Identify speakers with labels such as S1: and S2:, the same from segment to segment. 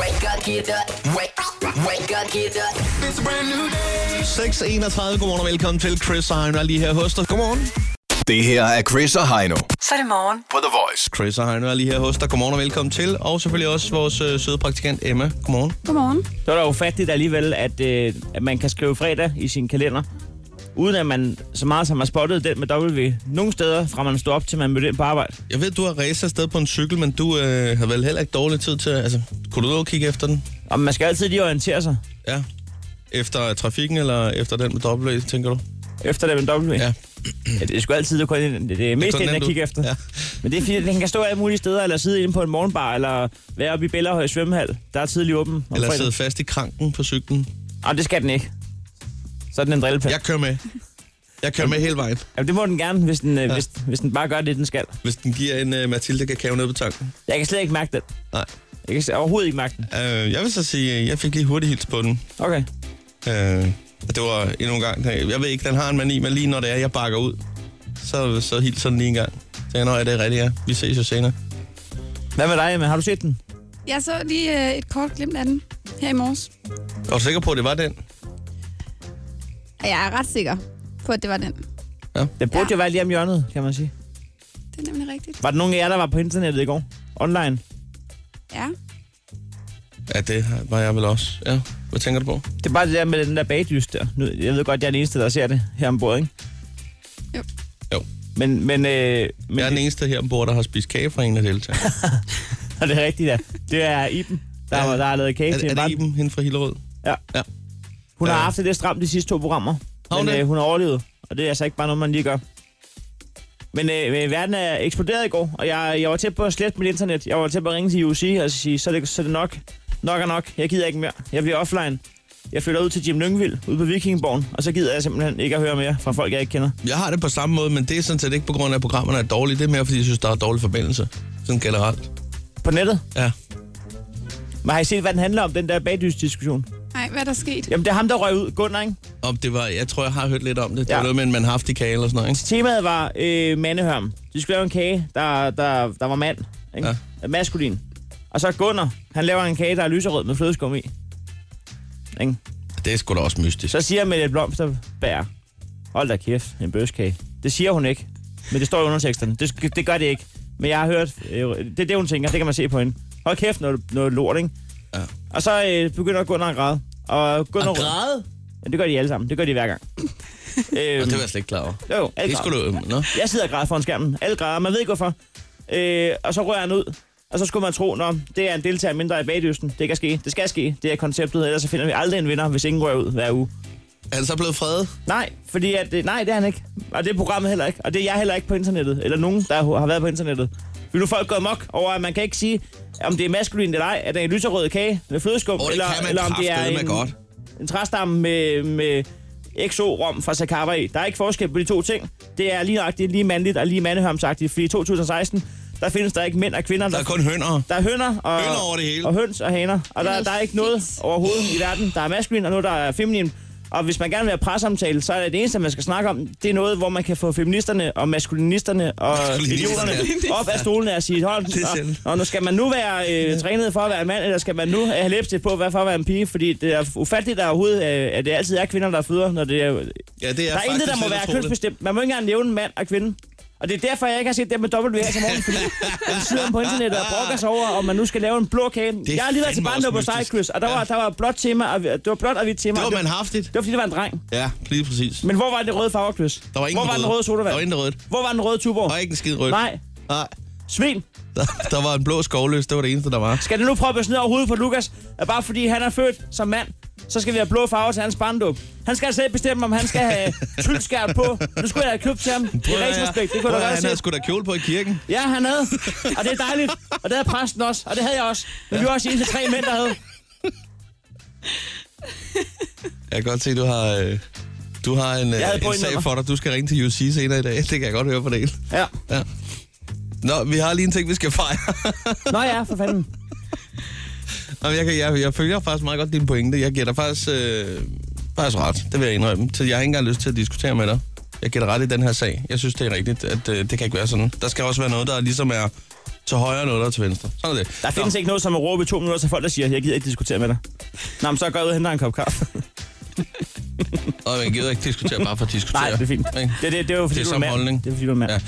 S1: Wake up, get up. Wake, wake up, get up. It's a brand new day.
S2: 6.31. Godmorgen og velkommen til Chris og Heino er lige her hos dig. Godmorgen.
S3: Det her er Chris og Heino
S4: Så er det morgen.
S3: på The Voice.
S2: Chris og Heino er lige her hos dig. Godmorgen og velkommen til. Og selvfølgelig også vores øh, søde praktikant Emma. Godmorgen.
S5: Godmorgen.
S6: Så er det ufatteligt alligevel, at, øh, at man kan skrive fredag i sin kalender, uden at man så meget som har spottet den med W. Nogle steder fra man stod op til man mødte ind på arbejde.
S2: Jeg ved, du har racet afsted på en cykel, men du øh, har vel heller ikke dårlig tid til... Altså, kunne du ud og kigge efter den?
S6: Og man skal altid lige orientere sig
S2: Ja. Efter trafikken, eller efter den med dobbelt, tænker du?
S6: efter det med W.
S2: Ja.
S6: Ja, det er sgu altid det, er kun- det, det er mest
S2: kun
S6: det,
S2: den,
S6: jeg
S2: du-
S6: kigger efter.
S2: Ja.
S6: Ja. Men det er fordi, den kan stå alle mulige steder, eller sidde inde på en morgenbar, eller være oppe i Bellerhøj svømmehal. Der er tidlig åben om
S2: Eller
S6: fredagen.
S2: sidde fast i kranken på cyklen.
S6: Og det skal den ikke. Så er den en drillepind.
S2: Jeg kører med. Jeg kører med hele vejen.
S6: Jamen, det må den gerne, hvis den, ja. hvis, hvis den bare gør det, den skal.
S2: Hvis den giver en uh, Mathilde kakao ned på tanken.
S6: Jeg kan slet ikke mærke den.
S2: Nej.
S6: Jeg kan s- overhovedet ikke mærke den.
S2: Uh, jeg vil så sige, at jeg fik lige hurtigt hils på den.
S6: Okay.
S2: Øh, det var endnu en gang. Jeg ved ikke, den har en mani, men lige når det er, jeg bakker ud, så, så hilser den lige en gang. Så jeg, når det er rigtigt, ja. Vi ses jo senere.
S6: Hvad med dig, Emma? Har du set den?
S5: Jeg så lige øh, et kort glimt af den her i morges.
S2: Er du sikker på, at det var den?
S5: Og Jeg er ret sikker på, at det var den.
S6: Den burde jo være lige om hjørnet, kan man sige.
S5: Det er nemlig rigtigt.
S6: Var der nogen af jer, der var på internettet i går? Online?
S5: Ja.
S2: Ja, det var jeg vel også. Ja. Hvad tænker du på?
S6: Det er bare det der med den der bagdyst der. Nu, jeg ved godt, jeg er den eneste, der ser det her ombord, ikke?
S5: Jo.
S2: Jo.
S6: Men, men, øh, men
S2: Jeg er den eneste her ombord, der har spist kage fra en af deltagerne.
S6: er det rigtigt, ja. Det er Iben, der,
S2: Ja.
S6: ja. der har lavet kage
S2: er,
S6: til
S2: det- er det
S6: hende.
S2: Iben, hende fra Hillerød?
S6: Ja.
S2: ja.
S6: Hun har
S2: Ja.
S6: haft det lidt stramt de sidste to programmer.
S2: Har hun
S6: men
S2: det?
S6: øh, hun har overlevet, og det er altså ikke bare noget, man lige gør. Men øh, øh, verden er eksploderet i går, og jeg, jeg var tæt på at slette mit internet. Jeg var tæt på at ringe til UC og sige, så er det, så er det nok. Nok er nok. Jeg gider ikke mere. Jeg bliver offline. Jeg flytter ud til Jim Lyngvild, ude på Vikingborgen, og så gider jeg simpelthen ikke at høre mere fra folk, jeg ikke kender.
S2: Jeg har det på samme måde, men det er sådan set ikke på grund af, at programmerne er dårlige. Det er mere, fordi jeg synes, der er dårlig forbindelse. Sådan generelt.
S6: På nettet.
S2: Ja.
S6: Men har I set, hvad den handler om, den der bagdysdiskussion?
S5: Nej, hvad er der sket?
S6: Jamen, det er ham, der røg ud. Gunnar, ikke?
S2: Og det var, jeg tror, jeg har hørt lidt om det. Det
S6: Ja.
S2: var noget med en manhaftig kage eller sådan noget, ikke?
S6: Temaet var øh, mandehørm. De skulle lave en kage, der, der, der var mand. Ikke? Ja. Maskulin. Og så Gunnar, han laver en kage, der er lyserød med flødeskum i. Ikke?
S2: Det er sgu da også mystisk.
S6: Så siger Mette Blomsterbær, hold da kæft, en bøskage. Det siger hun ikke, men det står i underteksterne. Det, sk- det gør det ikke. Men jeg har hørt, øh, det er det, hun tænker, det kan man se på hende. Hold kæft, noget, noget lort, ikke?
S2: Ja.
S6: Og så øh, begynder Gunnar at græde. Og Gunnar,
S2: At græde?
S6: Ja, det gør de alle sammen. Det gør de hver gang. øhm,
S2: Og det var jeg slet ikke klar over.
S6: jo, jo, alle
S2: Det
S6: græder.
S2: skulle du... øhm, Nå.
S6: Jeg sidder og græder foran skærmen. Alle græder, man ved ikke hvorfor. Øh, og så rører han ud. Og så skulle man tro, når det er en deltager mindre i bagdysten. Det kan ske. Det skal ske. Det er konceptet. Ellers så finder vi aldrig en vinder, hvis ingen rører ud hver uge.
S2: Er han så blevet fredet?
S6: Nej, fordi at, øh, nej, det er han ikke. Og det er programmet heller ikke. Og det er jeg heller ikke på internettet. Eller nogen, der har været på internettet. Vi nu er folk gået mok over, at man kan ikke sige, om det er maskulin eller ej, at det er en lyserød kage med flødeskum,
S2: Åh, det
S6: eller,
S2: kan man
S6: eller om det er
S2: kraftedeme
S6: en,
S2: godt.
S6: en træstamme med, med XO-rom fra Sakava i. Der er ikke forskel på de to ting. Det er lige nøjagtigt, lige mandligt og lige mandehørmsagtigt, fordi i 2016, der findes der ikke mænd og kvinder.
S2: Der er kun hønder.
S6: Der er hønder og,
S2: Hønder over det hele.
S6: og høns og haner. Og der,
S5: noget
S6: der er ikke noget
S5: fedt.
S6: overhovedet i verden. Der er maskulin, og noget, der er feminin. Og hvis man gerne vil have pressamtale, så er det det eneste, man skal snakke om. Det er noget, hvor man kan få feministerne og maskulinisterne og
S2: Maskulinisterne.
S6: idioterne op af stolene og sige, hold,
S2: Det er selv.
S6: og, og nu skal man nu være øh, trænet for at være en mand, eller skal man nu have lipstick på hvad for at være en pige? Fordi det er ufatteligt der overhovedet, øh, at det altid er kvinder, der føder, når det er
S2: Ja, det er
S6: der er intet, der må være kønsbestemt. Man må ikke engang nævne mand og kvinde. Og det er derfor, jeg ikke har set dem med dobbelt her til morgen, fordi den sidder på internettet og brokker sig over, om man nu skal lave en blå kage.
S2: er
S6: Jeg har lige været til
S2: fandme
S6: barndom på
S2: også mystisk.
S6: Cyprus, og der,
S2: Ja.
S6: ja. var, der var blåt tema, og, det var blåt og hvidt tema.
S2: Det
S6: og
S2: var
S6: det,
S2: manhaftigt.
S6: det var fordi, det var en dreng.
S2: Ja, lige præcis.
S6: Men hvor var det røde farverkløs?
S2: Der var ingen
S6: Hvor var den røde sodavand?
S2: Der var ingen rødt.
S6: Hvor var den røde tuborg?
S2: Der var ikke en skid rødt.
S6: Nej,
S2: Nej.
S6: svin.
S2: Der, der, var en blå skovløs. Det var det eneste, der var.
S6: Skal det nu proppes ned over hovedet på Lukas, at bare fordi han er født som mand, så skal vi have blå farver til hans barndåb. Han skal selv bestemme, om han skal have tyldskært på. Nu skulle jeg have købt til ham. Det er retrospekt, det kunne du
S2: Prøv at-
S6: godt
S2: Han
S6: se.
S2: havde sgu da kjole på i kirken.
S6: Ja, han havde. Og det er dejligt. Og det havde præsten også. Og det havde jeg også. Men vi var også de eneste tre mænd, der havde.
S2: Jeg kan godt se, du har... øh, Du har en, øh,
S6: Jeg havde
S2: en sag
S6: pointnummer.
S2: for dig. Du skal ringe til UC senere i dag. Det kan jeg godt høre på det hele.
S6: Ja.
S2: Ja. Nå, vi har lige en ting, vi skal fejre.
S6: Nå ja, for fanden.
S2: Jamen, jeg, kan, jeg, jeg følger faktisk meget godt dine pointe. Jeg giver dig faktisk, øh, faktisk ret. Det vil jeg indrømme. Så jeg har ikke engang lyst til at diskutere med dig. Jeg giver dig ret i den her sag. Jeg synes, det er rigtigt, at øh, det kan ikke være sådan. Der skal også være noget, der ligesom er til højre noget, der er til venstre. Sådan er det.
S6: Der findes
S2: Nå,
S6: ikke noget som at råbe i to minutter, så folk der siger, jeg gider ikke diskutere med dig. Nå, men så går jeg ud og henter en kop kaffe.
S2: Og man gider ikke diskutere bare for at diskutere.
S6: Nej, det er fint.
S2: Ikke?
S6: Det, det, det er jo fordi,
S2: Det
S6: du
S2: er
S6: er
S2: samme
S6: mand.
S2: holdning.
S6: Det er fordi, du er mand.
S2: Ja.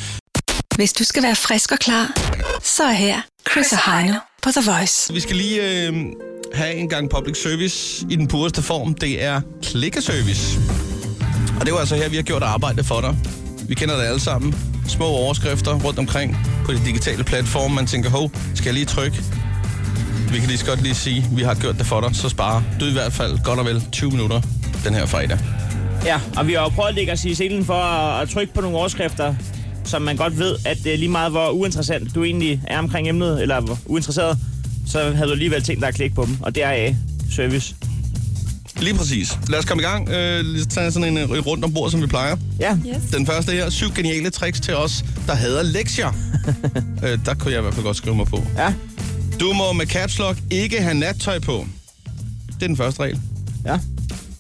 S6: Ja.
S4: Hvis du skal være frisk og klar, så er her Chris og Heino på The Voice.
S2: Vi skal lige øh, have en gang public service i den pureste form. Det er klikkeservice. Og det er jo altså her, vi har gjort arbejde for dig. Vi kender det alle sammen. Små overskrifter rundt omkring på de digitale platforme. Man tænker, hov, skal jeg lige trykke? Vi kan lige så godt lige sige, vi har gjort det for dig, så sparer du i hvert fald godt og vel 20 minutter den her fredag.
S6: ja, og vi har jo prøvet at lægge os i selen for at, at trykke på nogle overskrifter, som man godt ved, at det er lige meget, hvor uinteressant du egentlig er omkring emnet, eller hvor uinteresseret, så havde du alligevel tænkt dig at klikke på dem. Og deraf service.
S2: Lige præcis. Lad os komme i gang. Øh, lige tage sådan en øh, rundt ombord, som vi plejer.
S6: Ja,
S5: Yes.
S2: Den første her, syv geniale tricks til os, der hader lektier. øh, der kunne jeg i hvert fald godt skrive mig på.
S6: ja,
S2: Du må med caps lock ikke have nattøj på. Det er den første regel.
S6: ja.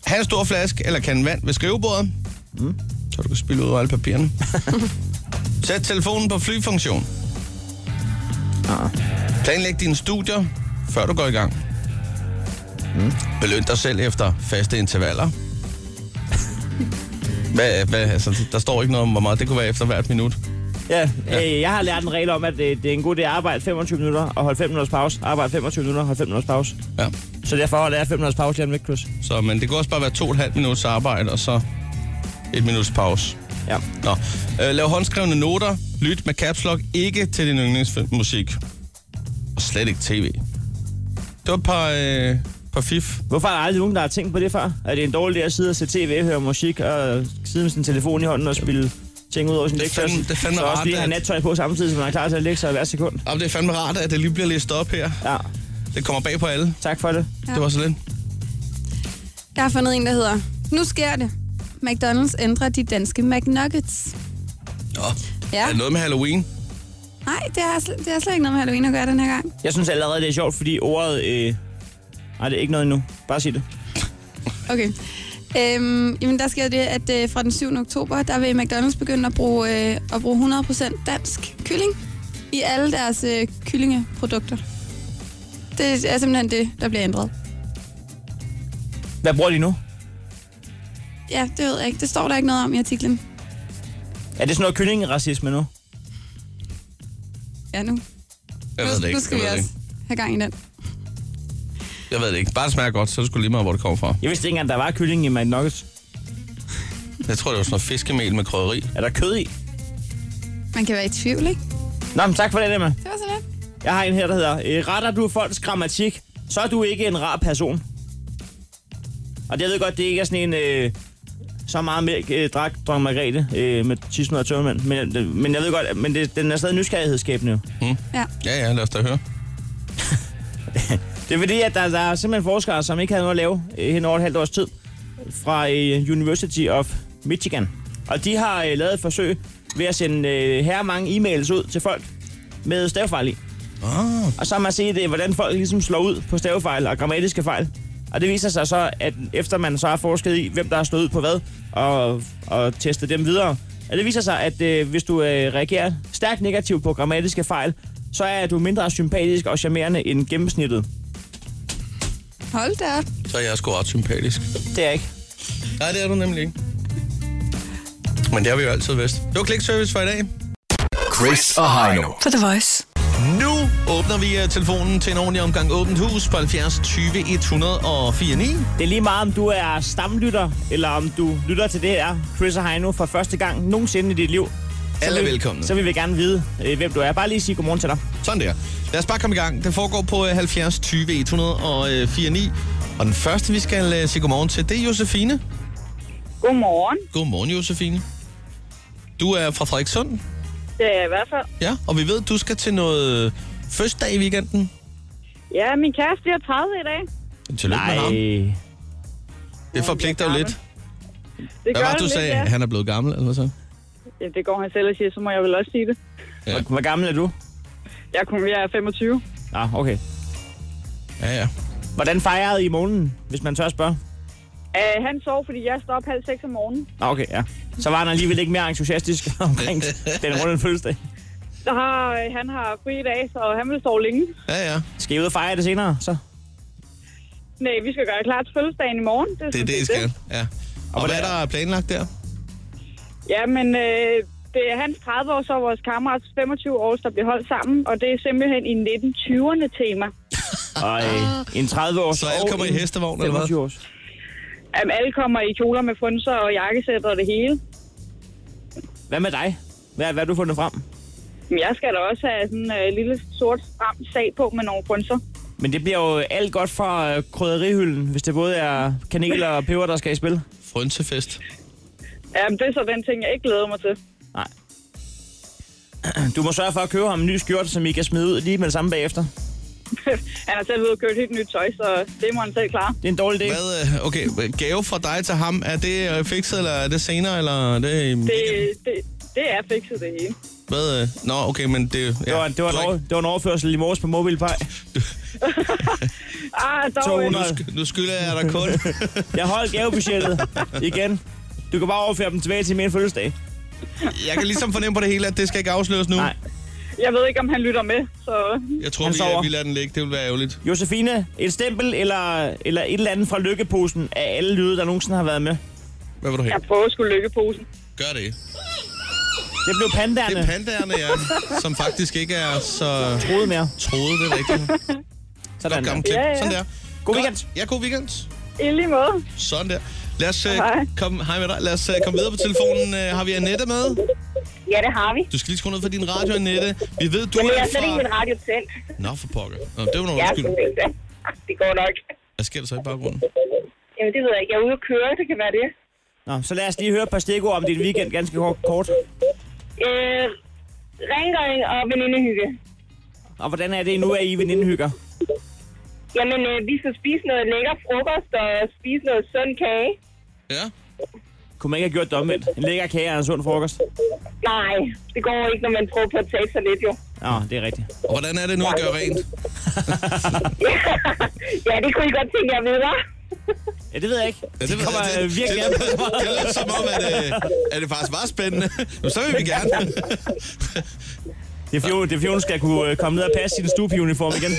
S2: Ha' en stor flaske eller kan vand ved skrivebordet. Mm. Så du kan spille ud af alle papirerne. Sæt telefonen på flyfunktion. Ah. Planlæg dine studier, før du går i gang. Mm. Beløn dig selv efter faste intervaller. hvad, hvad, altså, der står ikke noget om, hvor meget det kunne være efter hvert minut.
S6: Ja, øh, jeg har lært en regel om, at øh, det, det er en god idé at arbejde 25 minutter og holde 5 minutters pause. Arbejde 25 minutter og holde 5 minutters pause.
S2: Ja.
S6: Så derfor holder jeg 5 minutters pause lige om lidt, Chris.
S2: Så, men det kunne også bare være to og et halvt minuts arbejde, og så et minuts pause.
S6: Ja.
S2: Nå. Øh, lav håndskrevne noter. Lyt med caps lock ikke til din yndlingsmusik. Og slet ikke tv. Det var et par, øh, par fif.
S6: Hvorfor er der aldrig nogen, der har tænkt på det før? Er det en dårlig idé at sidde og se tv, høre musik og sidde med sin telefon i hånden og spille ting ud over sin
S2: Det er
S6: lektie?
S2: fandme- det er fandme
S6: Så også
S2: rart,
S6: lige have
S2: at-
S6: nattøj på samtidig, så man er klar til at lægge sig hver sekund.
S2: Og det er fandme rart, at det lige bliver læst op her.
S6: Ja,
S2: Det kommer bag på alle.
S6: tak for det.
S2: Ja. Det var så lidt.
S5: Jeg har fundet en, der hedder, nu sker det. McDonald's ændrer de danske McNuggets.
S2: Nå.
S5: Ja.
S2: Er det noget med Halloween?
S5: Nej, det har, sl- det har slet ikke noget med Halloween at gøre den her gang.
S6: Jeg synes allerede, det er sjovt, fordi ordet... Øh... Nej, det er ikke noget endnu. Bare sig det.
S5: Okay. Øhm, jamen, der sker det, at øh, fra den 7. oktober, der vil McDonald's begynde at bruge, øh, at bruge 100% dansk kylling i alle deres øh, kyllingeprodukter. Det er simpelthen det, der bliver ændret.
S6: Hvad bruger de nu?
S5: Ja, det ved jeg ikke. Det står der ikke noget om i artiklen.
S6: Er det sådan noget kyllingeracisme nu?
S5: Ja, nu.
S2: Jeg ved
S5: nu,
S2: det ikke.
S5: nu skal
S2: jeg,
S5: vi
S2: ved det
S5: også
S2: ikke.
S5: have gang i den.
S2: jeg ved det ikke. Bare det smager godt, så er det sgu lige meget, hvor det kommer fra.
S6: Jeg vidste ikke engang, der var kylling i McNuggets.
S2: Jeg tror, det var sådan noget fiskemel med krydderi.
S6: Er der kød i?
S5: Man kan være i tvivl, ikke?
S6: Nå, men tak for det, Emma.
S5: Det var så lidt.
S6: Jeg har en her, der hedder, øh, retter du folks grammatik, så er du ikke en rar person. Og det jeg ved godt, det ikke er sådan en, øh, så meget mælk, øh, drak dronning Margrethe øh, med 1000 tømmermænd. Men, øh, men jeg ved godt, men det, den er stadig nysgerrighedsskabende jo.
S5: Ja.
S2: Hmm. Ja, ja, lad os da høre.
S6: Det er fordi, at der, der er simpelthen forskere, som ikke havde noget at lave øh, hen over et halvt års tid, fra øh, University of Michigan. Og de har øh, lavet et forsøg ved at sende øh, her mange e-mails ud til folk med stavefejl i.
S2: Ah,
S6: Og så har man set, øh, hvordan folk ligesom slår ud på stavefejl og grammatiske fejl. Og det viser sig så, at efter man så har forsket i, hvem der har slået ud på hvad, og, og testet dem videre, at det viser sig, at øh, hvis du øh, reagerer stærkt negativt på grammatiske fejl, så er du mindre sympatisk og charmerende end gennemsnittet.
S5: Hold da op.
S2: så er jeg sgu ret sympatisk.
S6: Det er jeg ikke.
S2: Nej, det er du nemlig ikke. Men det har vi jo altid vidst. Det var klikservice for i dag.
S3: Chris og Heino.
S4: På The Voice.
S2: Nu åbner vi øh, telefonen til en ordentlig omgang åbent hus på 70 20 104 9.
S6: Det er lige meget, om du er stamlytter, eller om du lytter til det her, Chris og Heino, for første gang nogensinde i dit liv. Så
S2: Alle er
S6: vil-
S2: velkomne.
S6: Så vil vi gerne vide, øh, hvem du er. Bare lige sige godmorgen til dig.
S2: Sådan der. Lad os bare komme i gang. Det foregår på øh, 70 20 104 9. Og den første, vi skal øh, sige godmorgen til, det er Josefine.
S7: Godmorgen.
S2: Godmorgen, Josefine. Du er fra Frederikssund,
S7: Det er jeg i hvert fald.
S2: ja, og vi ved, du skal til noget øh, fødselsdag i weekenden.
S7: Ja, min kæreste bliver 30 i dag.
S2: Tillykke med ham. Det forpligter jo
S7: gammel.
S2: lidt.
S7: Det
S2: Hvad
S7: gør
S2: var det,
S7: han
S2: du
S7: lidt,
S2: sagde?
S7: Ja.
S2: Han er blevet gammel, eller hvad så?
S7: ja. det går han selv og siger, så må jeg vel også sige det.
S6: Hvor, hvor gammel er du?
S7: Jeg, er kun, jeg er 25.
S6: Ah, okay.
S2: Ja, ja.
S6: Hvordan fejrede I morgenen, hvis man tør spørge?
S7: Uh, han sov, fordi jeg står op halv seks om morgenen.
S6: Ah, okay, ja. Så var han alligevel ikke mere entusiastisk omkring den runde fødselsdag.
S7: Der har, øh, han har fri i dag, så han vil sove længe.
S2: Ja, ja.
S6: Skal I ud og fejre det senere, så?
S7: Nej, vi skal gøre klar til fødselsdagen i morgen.
S2: Det er
S7: sådan
S2: det, I
S7: set
S2: skal. Ja. Og, og hvad er der planlagt der?
S7: Ja, men øh, det er hans 30 år, så vores kammerats 25 år, der bliver holdt sammen. Og det er simpelthen i 1920'erne tema.
S6: Og øh, en 30 års
S2: Så alle
S6: og
S2: kommer i
S6: en
S2: hestevogn, eller hvad?
S6: 25 Års.
S7: Jamen, alle kommer i kjoler med funser og jakkesæt og det hele.
S6: Hvad med dig? Hvad, hvad har du fundet frem?
S7: Men jeg skal da også have sådan en øh, lille sort stram sag på med nogle funser.
S6: Men det bliver jo alt godt fra øh, krydderihylden, hvis det både er kanel og peber, der skal i spil.
S2: Frønsefest.
S7: Jamen, det er så den ting, jeg ikke glæder mig til.
S6: Nej. Du må sørge for at købe ham en ny skjorte, som I kan smide ud lige med det samme bagefter.
S7: han har selv ved at købe et helt nyt tøj, så det må han selv klare.
S6: Det er en dårlig idé.
S2: Hvad, øh, okay, gave fra dig til ham, er det øh, fikset, eller er det senere, eller er det... i
S7: Det,
S2: weekenden?
S7: det, det er fikset det hele.
S2: Hvad? øh, Nå, okay, men det...
S6: Det
S2: Ja,
S6: var, det, var
S2: du
S6: en,
S2: har
S6: over,
S2: ikke-
S6: det var en overførsel i morges på mobilpej.
S7: Ah, dog,
S6: 200.
S7: øh,
S2: Nu, sk- nu skylder jeg dig kun.
S6: Jeg holdt gavebudgettet igen. Du kan bare overføre dem tilbage til min fødselsdag.
S2: jeg kan ligesom fornemme på det hele, at det skal ikke afsløres nu.
S6: Nej.
S7: jeg ved ikke, om han lytter med, så
S2: Jeg tror,
S6: Han
S2: vi,
S6: sover.
S2: vi lader den ligge. Det vil være ærgerligt.
S6: Josefine, et stempel eller, eller et eller andet fra lykkeposen af alle lyde, der nogensinde har været med.
S2: Hvad vil du
S7: jeg
S2: have?
S7: prøver sgu lykkeposen.
S2: Gør det.
S6: Det blev
S2: Det
S6: pandaerne.
S2: er pandaerne, ja, som faktisk ikke er så
S6: Rode mere.
S2: troede, det er rigtigt.
S6: Sådan
S2: Godt gammel
S6: der.
S2: klip.
S7: Ja, ja.
S2: Sådan der.
S6: God
S2: Godt.
S6: weekend.
S2: Ja, god weekend.
S7: I lige måde.
S2: Sådan der. Lad os, øh,
S7: Hej.
S2: komme, hej med dig. Lad os øh, komme videre på telefonen. Øh, har vi Annette med?
S8: Ja, det har vi.
S2: Du skal lige skrue ned for din radio, Annette. Vi ved, du
S8: Men det
S2: er
S8: er slet ikke
S2: fra...
S8: min radio tændt.
S2: Nå, for pokker. Nå, det var noget
S8: Ja,
S2: undskyld.
S8: det går nok.
S2: Hvad sker der så i baggrunden?
S8: Jamen, det ved jeg ikke. Jeg er ude at køre, det kan være det.
S6: Nå, så lad os lige høre et par stikord om din weekend ganske kort- kort.
S8: Øh, rengøring og venindehygge.
S6: Og hvordan er det nu, at I venindehygger?
S8: Jamen, øh, vi skal spise noget lækker frokost og spise noget sund kage.
S2: Ja.
S6: Kunne man ikke have gjort det omvendt? En lækker kage og en sund frokost?
S8: Nej, det går ikke, når man prøver på at tabe sig lidt, jo.
S6: Nå, det er rigtigt.
S2: Og hvordan er det nu at gøre rent?
S8: ja, det kunne I godt tænke jer videre.
S6: Ja, det ved jeg ikke.
S2: Ja,
S6: det kommer
S2: det,
S6: øh, virkelig
S2: det,
S6: an
S2: det,
S6: på.
S2: det, det, er lidt som om, at, øh, at det faktisk var spændende. Jamen, så vil vi gerne.
S6: Det er fjol, det er fjol, skal kunne øh, komme ned og passe sin stuepigeuniform igen.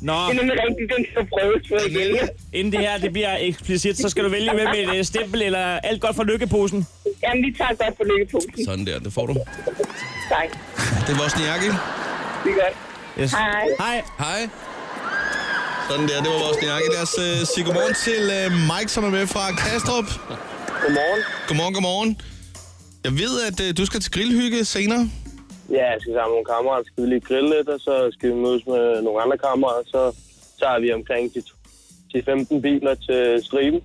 S6: Nå,
S8: Det er nemlig rigtigt, den skal prøves på igen.
S6: inden det her det bliver eksplicit, så skal du vælge med med et øh, stempel eller alt godt fra lykkeposen.
S8: Jamen, vi tager godt på lykkepunkten.
S2: Sådan der, det får du.
S8: Tak.
S2: Det er vores niakke.
S8: Det er godt.
S6: Yes.
S8: Hej.
S6: Hej.
S2: Hej. Sådan der, det var vores niakke. Lad os øh, sige godmorgen til øh, Mike, som er med fra Kastrup.
S9: Godmorgen.
S2: Godmorgen, godmorgen. Jeg ved, at øh, du skal til grillhygge senere.
S9: Ja, jeg skal sammen med nogle kammerater, skal vi lige grille lidt, og så skal vi mødes med nogle andre kammerater, så tager vi omkring de, de 15 biler til striben.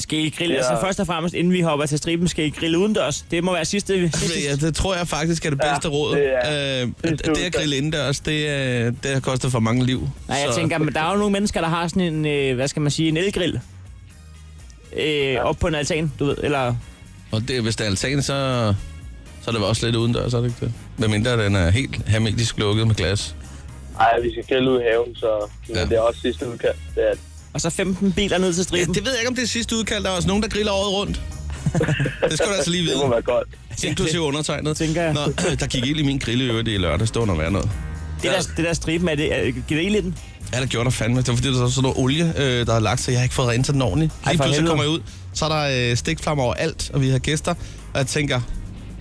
S6: Skal I grille?
S9: Ja.
S6: Altså først og fremmest, inden vi hopper til striben, skal I grille udendørs. Det må være sidste. sidste.
S2: Ja, det tror jeg faktisk er det bedste
S9: Ja,
S2: råd.
S9: det er-
S2: øh,
S9: det er
S2: at- at det at
S9: super.
S2: grille indendørs, det, øh, det har kostet for mange liv.
S6: Nej, jeg
S2: Så-
S6: tænker, men der er jo nogle mennesker, der har sådan en, øh, hvad skal man sige, en elgrill. Øh, ja. Op på en altan, du ved, eller...
S2: Og det, hvis det er altan, så, så er det vel også lidt udendørs, er det ikke det? Hvad mindre den er helt hermetisk lukket med glas.
S9: Ej, vi skal grille ud i haven, så men
S2: Ja.
S9: det er også sidste udkald. Det er, det.
S6: Og så 15 biler ned til striben.
S2: Det ved jeg ikke, om det er sidste udkald. Der er også nogen, der griller året rundt. Det skal du altså lige
S9: det må
S2: vide,
S9: være godt.
S2: inklusive undertegnet.
S6: Tænker jeg.
S2: Nå, der gik ild i min grill i øvrigt i lørdag. Det var noget værd noget.
S6: Det der, det der striben, er det, er, giver det ild i den?
S2: Ja, der gjorde der fandme. Det var fordi, der var sådan noget olie, øh, der har lagt sig. Jeg har ikke fået renset den ordentligt.
S6: Ej,
S2: Lige
S6: for
S2: pludselig
S6: helvede.
S2: kommer jeg ud, så er der øh, stikflammer over alt, og vi har gæster. Og jeg tænker,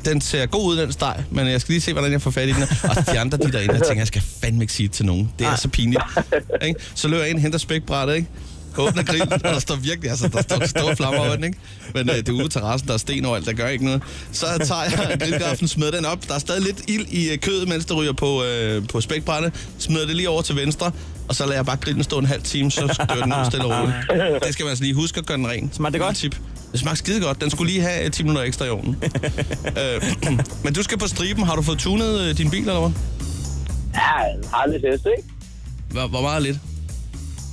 S2: den ser god ud, den steg, men jeg skal lige se, hvordan jeg får fat i den. Og de andre, de derinde, jeg tænker, jeg skal fandme ikke sige det til nogen. Det er så pinligt. Ikke? Så løber jeg ind, henter spækbrættet, ikke? Åbner grillen, og der står virkelig, altså der står store flammer over den, ikke? Men øh, det er ude på terrassen, der er sten overalt, der gør ikke noget. Så tager jeg grillgraften, smider den op. Der er stadig lidt ild i øh, kødet, mens det ryger på, øh, på spækbrættet. Smider det lige over til venstre, og så lader jeg bare grillen stå en halv time, så dør den ud stille og roligt. Det skal man altså lige huske at gøre den ren.
S6: Smagte det godt?
S2: Tip. Det smagte skide godt. Den skulle lige have øh, 10 minutter ekstra i ovnen. øh, men du skal på striben. Har du fået tunet øh, din bil, eller hvad?
S9: Ja, en harlig fest, ikke?
S2: Hvor, hvor meget lidt?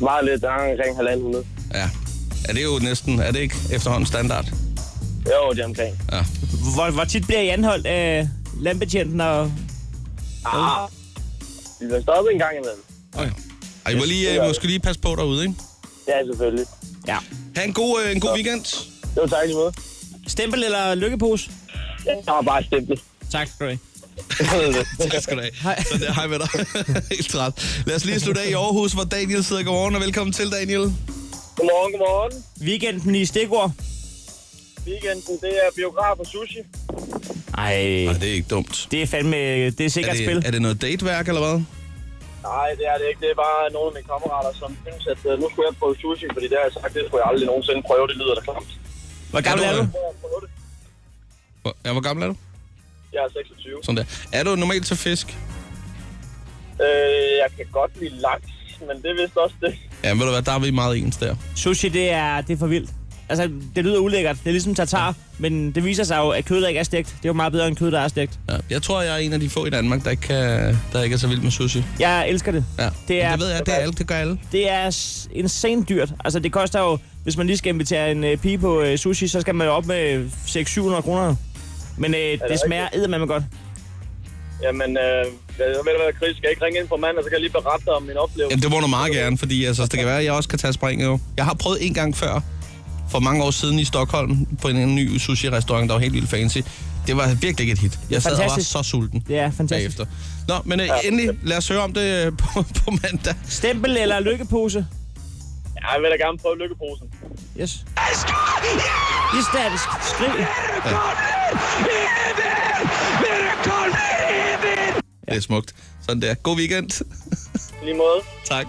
S9: Meget lidt, der er omkring halvanden hundrede.
S2: Ja. Er det jo næsten, er det ikke efterhånden standard?
S9: Jo, det er omkring.
S2: Ja.
S6: Hvor, hvor tit bliver I anholdt af landbetjenten og...
S9: Ah, vi vil stoppe en gang imellem.
S2: Okay. Og I må lige, øh, måske lige passe på derude, ikke?
S9: Ja, selvfølgelig.
S6: Ja.
S2: Ha' en god, øh, en god weekend.
S9: Det var tak lige måde.
S6: Stempel eller lykkepose?
S9: Jeg har bare stemplet.
S6: Tak skal du have.
S2: Tak skal du have. Hej. Så det, hej med dig. Helt træt. Lad os lige slutte af i Aarhus, hvor Daniel sidder. Godmorgen og velkommen til, Daniel.
S9: Godmorgen, godmorgen.
S6: Weekenden i stikord.
S9: Weekenden, det er biograf og sushi.
S6: Ej,
S2: Nej, det er ikke dumt.
S6: det er fandme, det er
S2: Er
S6: sikkert spil.
S2: det, er det noget dateværk, eller hvad?
S9: Nej, det er det ikke. Det er bare nogle af mine kammerater, som synes, at øh, nu skulle jeg prøve sushi, fordi det har jeg sagt, det skulle jeg aldrig nogensinde prøve. Det lyder da klamt.
S6: Hvor gammel
S2: Er
S6: er
S2: du-
S6: du?
S9: Så jeg prøver det.
S2: Hvor- Ja, hvor gammel er du?
S9: Jeg er 26.
S2: Sådan der. Er du normalt til fisk?
S9: Øh, jeg kan godt lide laks, men det er vist også det.
S2: Ja, ved du hvad, der er vi meget ens der.
S6: Sushi, det er, det er for vildt. Altså, det lyder ulækkert. Det er ligesom tartar, men det viser sig jo, at kød, der ikke er stegt, det er jo meget bedre end kød, der er stegt.
S2: Ja. Jeg tror, jeg er en af de få i Danmark, der ikke, kan, der ikke er så vild med sushi.
S6: Jeg elsker det.
S2: Ja.
S6: Det er-
S2: Men det ved jeg, det er alle, det gør alle.
S6: Det er s- insane dyrt. Altså, det koster jo, hvis man lige skal invitere en øh, pige på øh, sushi, så skal man jo op med 600-700 kroner. Men øh, det smager eddermame godt.
S9: Jamen, øh, jeg ved du hvad, Chris, skal jeg ikke ringe ind på mandag, så kan jeg lige berette dig om min oplevelse.
S2: Jamen, det må du meget gerne, fordi altså, det kan være, at jeg også kan tage springet jo. Jeg har prøvet en gang før, for mange år siden i Stockholm, på en ny sushi-restaurant, der var helt vildt fancy. Det var virkelig ikke et hit. Jeg sad og var
S6: Fantastisk.
S2: så sulten
S6: Det er fantastisk.
S2: bagefter. Nå, men øh, endelig, lad os høre om det øh, på, på mandag.
S6: Stempel eller lykkepose?
S9: Ja, jeg vil da gerne prøve lykkeposen.
S6: Yes. Islandsk skrig.
S2: Det er smukt. Sådan der. God weekend.
S9: I Lige måde.
S2: tak.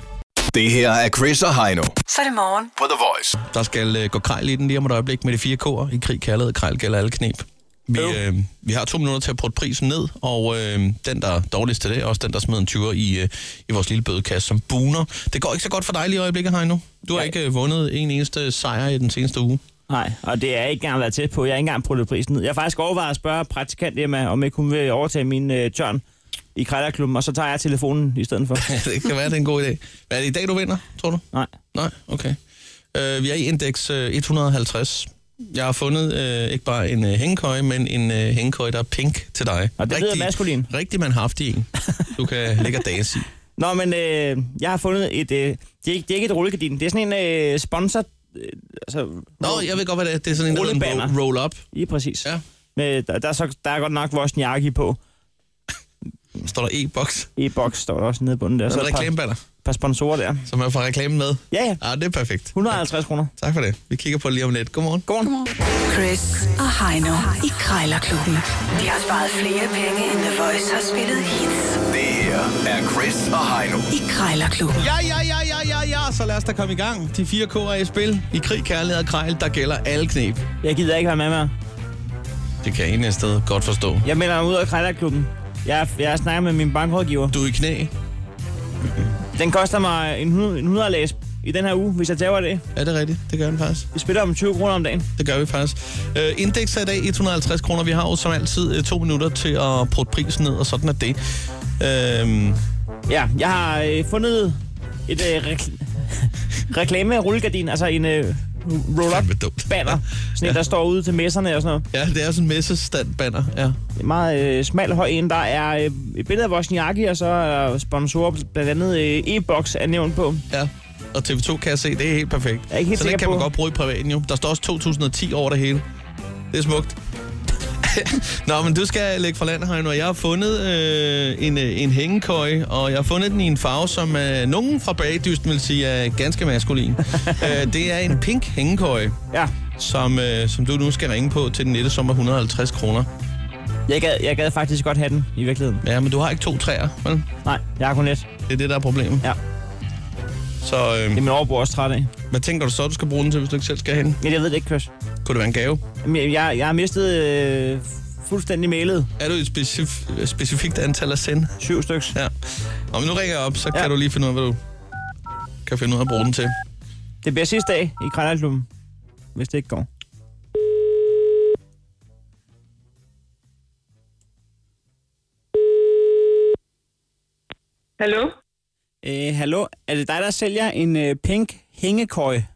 S3: Det her er Chris og Heino
S4: Så er det morgen.
S3: på The Voice.
S2: Der skal øh, gå krejl i den lige om et øjeblik med de fire k'er. I krig, kærlighed, krejl gælder alle knep. Vi, øh, vi har to minutter til at putte prisen ned, og øh, den, der er dårligst til det, er også den, der smed en 20'er i, øh, i vores lille bødekasse som buner. Det går ikke så godt for dig lige i øjeblikket, Heino. Du har ikke øh, vundet en eneste sejr i den seneste uge.
S6: Nej, og det er jeg ikke engang været tæt på. Jeg har ikke engang prøvet prisen ned. Jeg har faktisk overvejet at spørge praktikant Emma, om jeg kunne vil overtage min øh, tørn i krejlerklubben, og så tager jeg telefonen i stedet for.
S2: det kan være, det er en god idé. Hvad er det i dag, du vinder, tror du?
S6: Nej.
S2: Nej, okay. Øh, vi er i indeks øh, 150. Jeg har fundet øh, ikke bare en øh, hængekøje, men en øh, hængekøje, der er pink til dig.
S6: Og det lyder maskulin.
S2: Rigtig manhaftig en. Du kan lægge og danse i.
S6: Nå, men øh, jeg har fundet et... Øh, det, er ikke, det er ikke et rullegardin. Det er sådan en øh, sponsor... Øh, altså,
S2: Nå, jeg ved godt, hvad det er. Det er sådan en, der hedder en
S6: Rullebanner.
S2: ro- roll-up.
S6: I præcis.
S2: Ja.
S6: Med, der, der, er så, der er godt nok vores jakke på.
S2: Står der e-boks.
S6: E-box står der også nede i bunden der.
S2: Og så
S6: Så
S2: er
S6: er
S2: der
S6: et par,
S2: reklamebanner,
S6: par sponsorer der.
S2: som man får reklamen med.
S6: Ja, ja.
S2: Ja, det er perfekt.
S6: 150 kroner.
S2: Tak for det. Vi kigger på det lige om lidt. Godmorgen.
S5: Godmorgen.
S4: Chris og Heino i Krejlerklubben. De har sparet flere penge, end The Voice har spillet hits
S3: Det her er Chris og Heino.
S4: i Krejlerklubben.
S2: Ja, ja, ja, ja, ja, ja. Så lad os da komme i gang. De fire K'er er i spil. I krig, kærlighed og krejl, der gælder alle knep.
S6: Jeg gider ikke være med mere.
S2: Det kan jeg en sted godt forstå.
S6: Jeg melder mig ud af krejlerklubben. Jeg, jeg snakker med min bankrådgiver.
S2: Du er i knæ.
S6: Den koster mig en, hundrede- en 100 læs i den her uge, hvis jeg tager det.
S2: Er det rigtigt? Det gør den faktisk.
S6: Vi spiller om 20 kroner om dagen.
S2: Det gør vi faktisk. Øh, indeks er i dag 150 kroner. Vi har jo som altid øh, to minutter til at prøve prisen ned, og sådan er det. Øh,
S6: Ja, jeg har øh, fundet et øh, rekl- reklame-rullegardin, altså en øh, roll-up
S2: Fandme dumt.
S6: banner, sådan en, der står ude til messerne og sådan noget.
S2: ja, det er sådan en messestandbanner. Ja.
S6: En meget øh, smal høj en, der er øh, et billede af Wozniacki, og så er der sponsorer, blandt andet øh, e-box er nævnt på.
S2: ja. Og TV2 kan jeg se, det er helt perfekt.
S6: Jeg er ikke helt
S2: så det
S6: sikker
S2: kan man
S6: på-
S2: godt bruge i privaten jo. Der står også 2010 over det hele. Det er smukt. Nå, men du skal lægge fra land, Heino, og jeg har fundet øh, en, øh, en hængekøje, og jeg har fundet den i en farve, som øh, nogen fra bagdysten vil sige er ganske maskulin. øh, det er en pink hængekøje.
S6: Ja,
S2: som, øh, som du nu skal ringe på til den nette som er 150 kroner.
S6: jeg gad, jeg gad faktisk godt have den i virkeligheden.
S2: Ja, men du har ikke to træer, vel?
S6: Nej, jeg har kun et.
S2: Det er det, der er problemet.
S6: Ja.
S2: Så
S6: Det
S2: øh,
S6: er min overbror også træt af.
S2: hvad tænker du så, du skal bruge den til, hvis du ikke selv skal hen?
S6: Men jeg ved det ikke, Chris.
S2: Kunne det være en gave?
S6: Jamen, Jeg, jeg, jeg har mistet øh, fuldstændig mailet.
S2: Er du et specif- øh, specifikt antal af send?
S6: Syv styks.
S2: Ja. Nå, men nu ringer jeg op, så ja.
S6: Ja.
S2: kan du lige finde ud af, hvad du kan finde ud af at bruge den til.
S6: Det bliver sidste dag i Krejlerklubben, hvis det ikke går.
S8: Hallo?
S6: Øh, hallo, er det dig, der sælger en øh, pink hængekøje?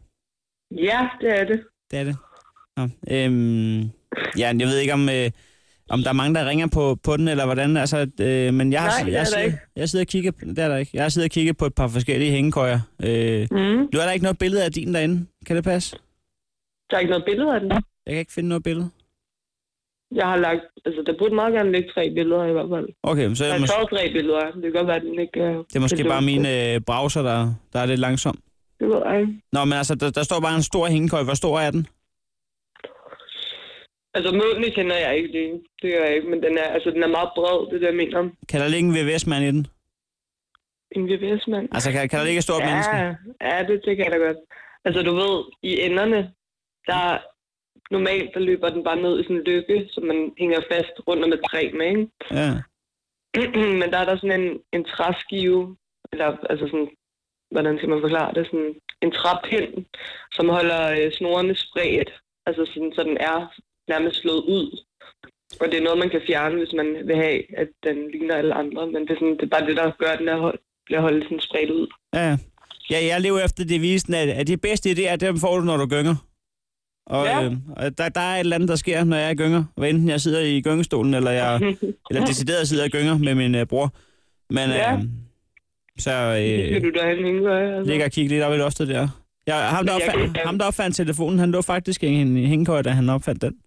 S8: Ja, det er det.
S6: Det er det. Nå, øhm, ja, jeg ved ikke, om, øh, om der er mange, der ringer på, på den, eller hvordan. Altså, øh, men jeg, har,
S8: Nej, det er der
S6: jeg, sidder,
S8: ikke.
S6: jeg sidder og kigger, det er der ikke. Jeg sidder og kigger på et par forskellige hængekøjer. Øh,
S8: Mm.
S6: nu er der ikke noget billede af din derinde. Kan det passe?
S8: Der er ikke noget billede af den.
S6: Jeg kan ikke finde noget billede.
S8: Jeg har lagt... Altså, der burde meget gerne ligge tre billeder i hvert fald.
S6: Okay, men så er
S8: Der
S6: jeg
S8: er
S6: mås-
S8: taget tre billeder. Det kan godt være, at den ikke... øh,
S6: det er måske bare min øh, browser, der, der er lidt langsom.
S8: Det ved jeg ikke.
S6: Nå, men altså, der, der står bare en stor hængekøj. Hvor stor er den?
S8: Altså, mødene kender jeg ikke lige. Det gør jeg ikke, men den er, altså, den er meget bred, det der, jeg mener.
S6: Kan der ligge en VVS-mand i den?
S8: En VVS-mand.
S6: Altså, kan, kan der ligge et stort
S8: ja,
S6: menneske?
S8: ja, det, det kan jeg da godt. Altså, du ved, i enderne, der normalt, der løber den bare ned i sådan en lykke, som man hænger fast rundt om et træ med, ikke?
S6: Ja.
S8: Mm-hmm, men der er der sådan en, en træskive, eller altså sådan, hvordan skal man forklare det, sådan en træpind, som holder øh, snorene spredt, altså sådan, så den er nærmest slået ud. Og det er noget, man kan fjerne, hvis man vil have, at den ligner alle andre, men det er, sådan, det er bare det, der gør, at den er hold, bliver holdt sådan spredt ud.
S6: Ja, ja. jeg lever efter devisen, at, at de bedste idéer, dem får du, når du gynger. Og
S8: Ja.
S6: ja. øh, og der, der er et eller andet, der sker, når jeg gynger. Hvad enten jeg sidder i gyngestolen, eller jeg eller decideret sidder og gynger med min øh, bror. Men øh,
S8: Ja.
S6: ja. så
S8: Det skal
S6: øh,
S8: du derhen hænge, gør jeg, altså.
S6: ligger og kigger lidt op i loftet der. Ja, ham, der
S8: Men jeg
S6: opfandt,
S8: kan-
S6: ham, der opfandt telefonen, han lå faktisk i en hængekøj, da han opfandt den.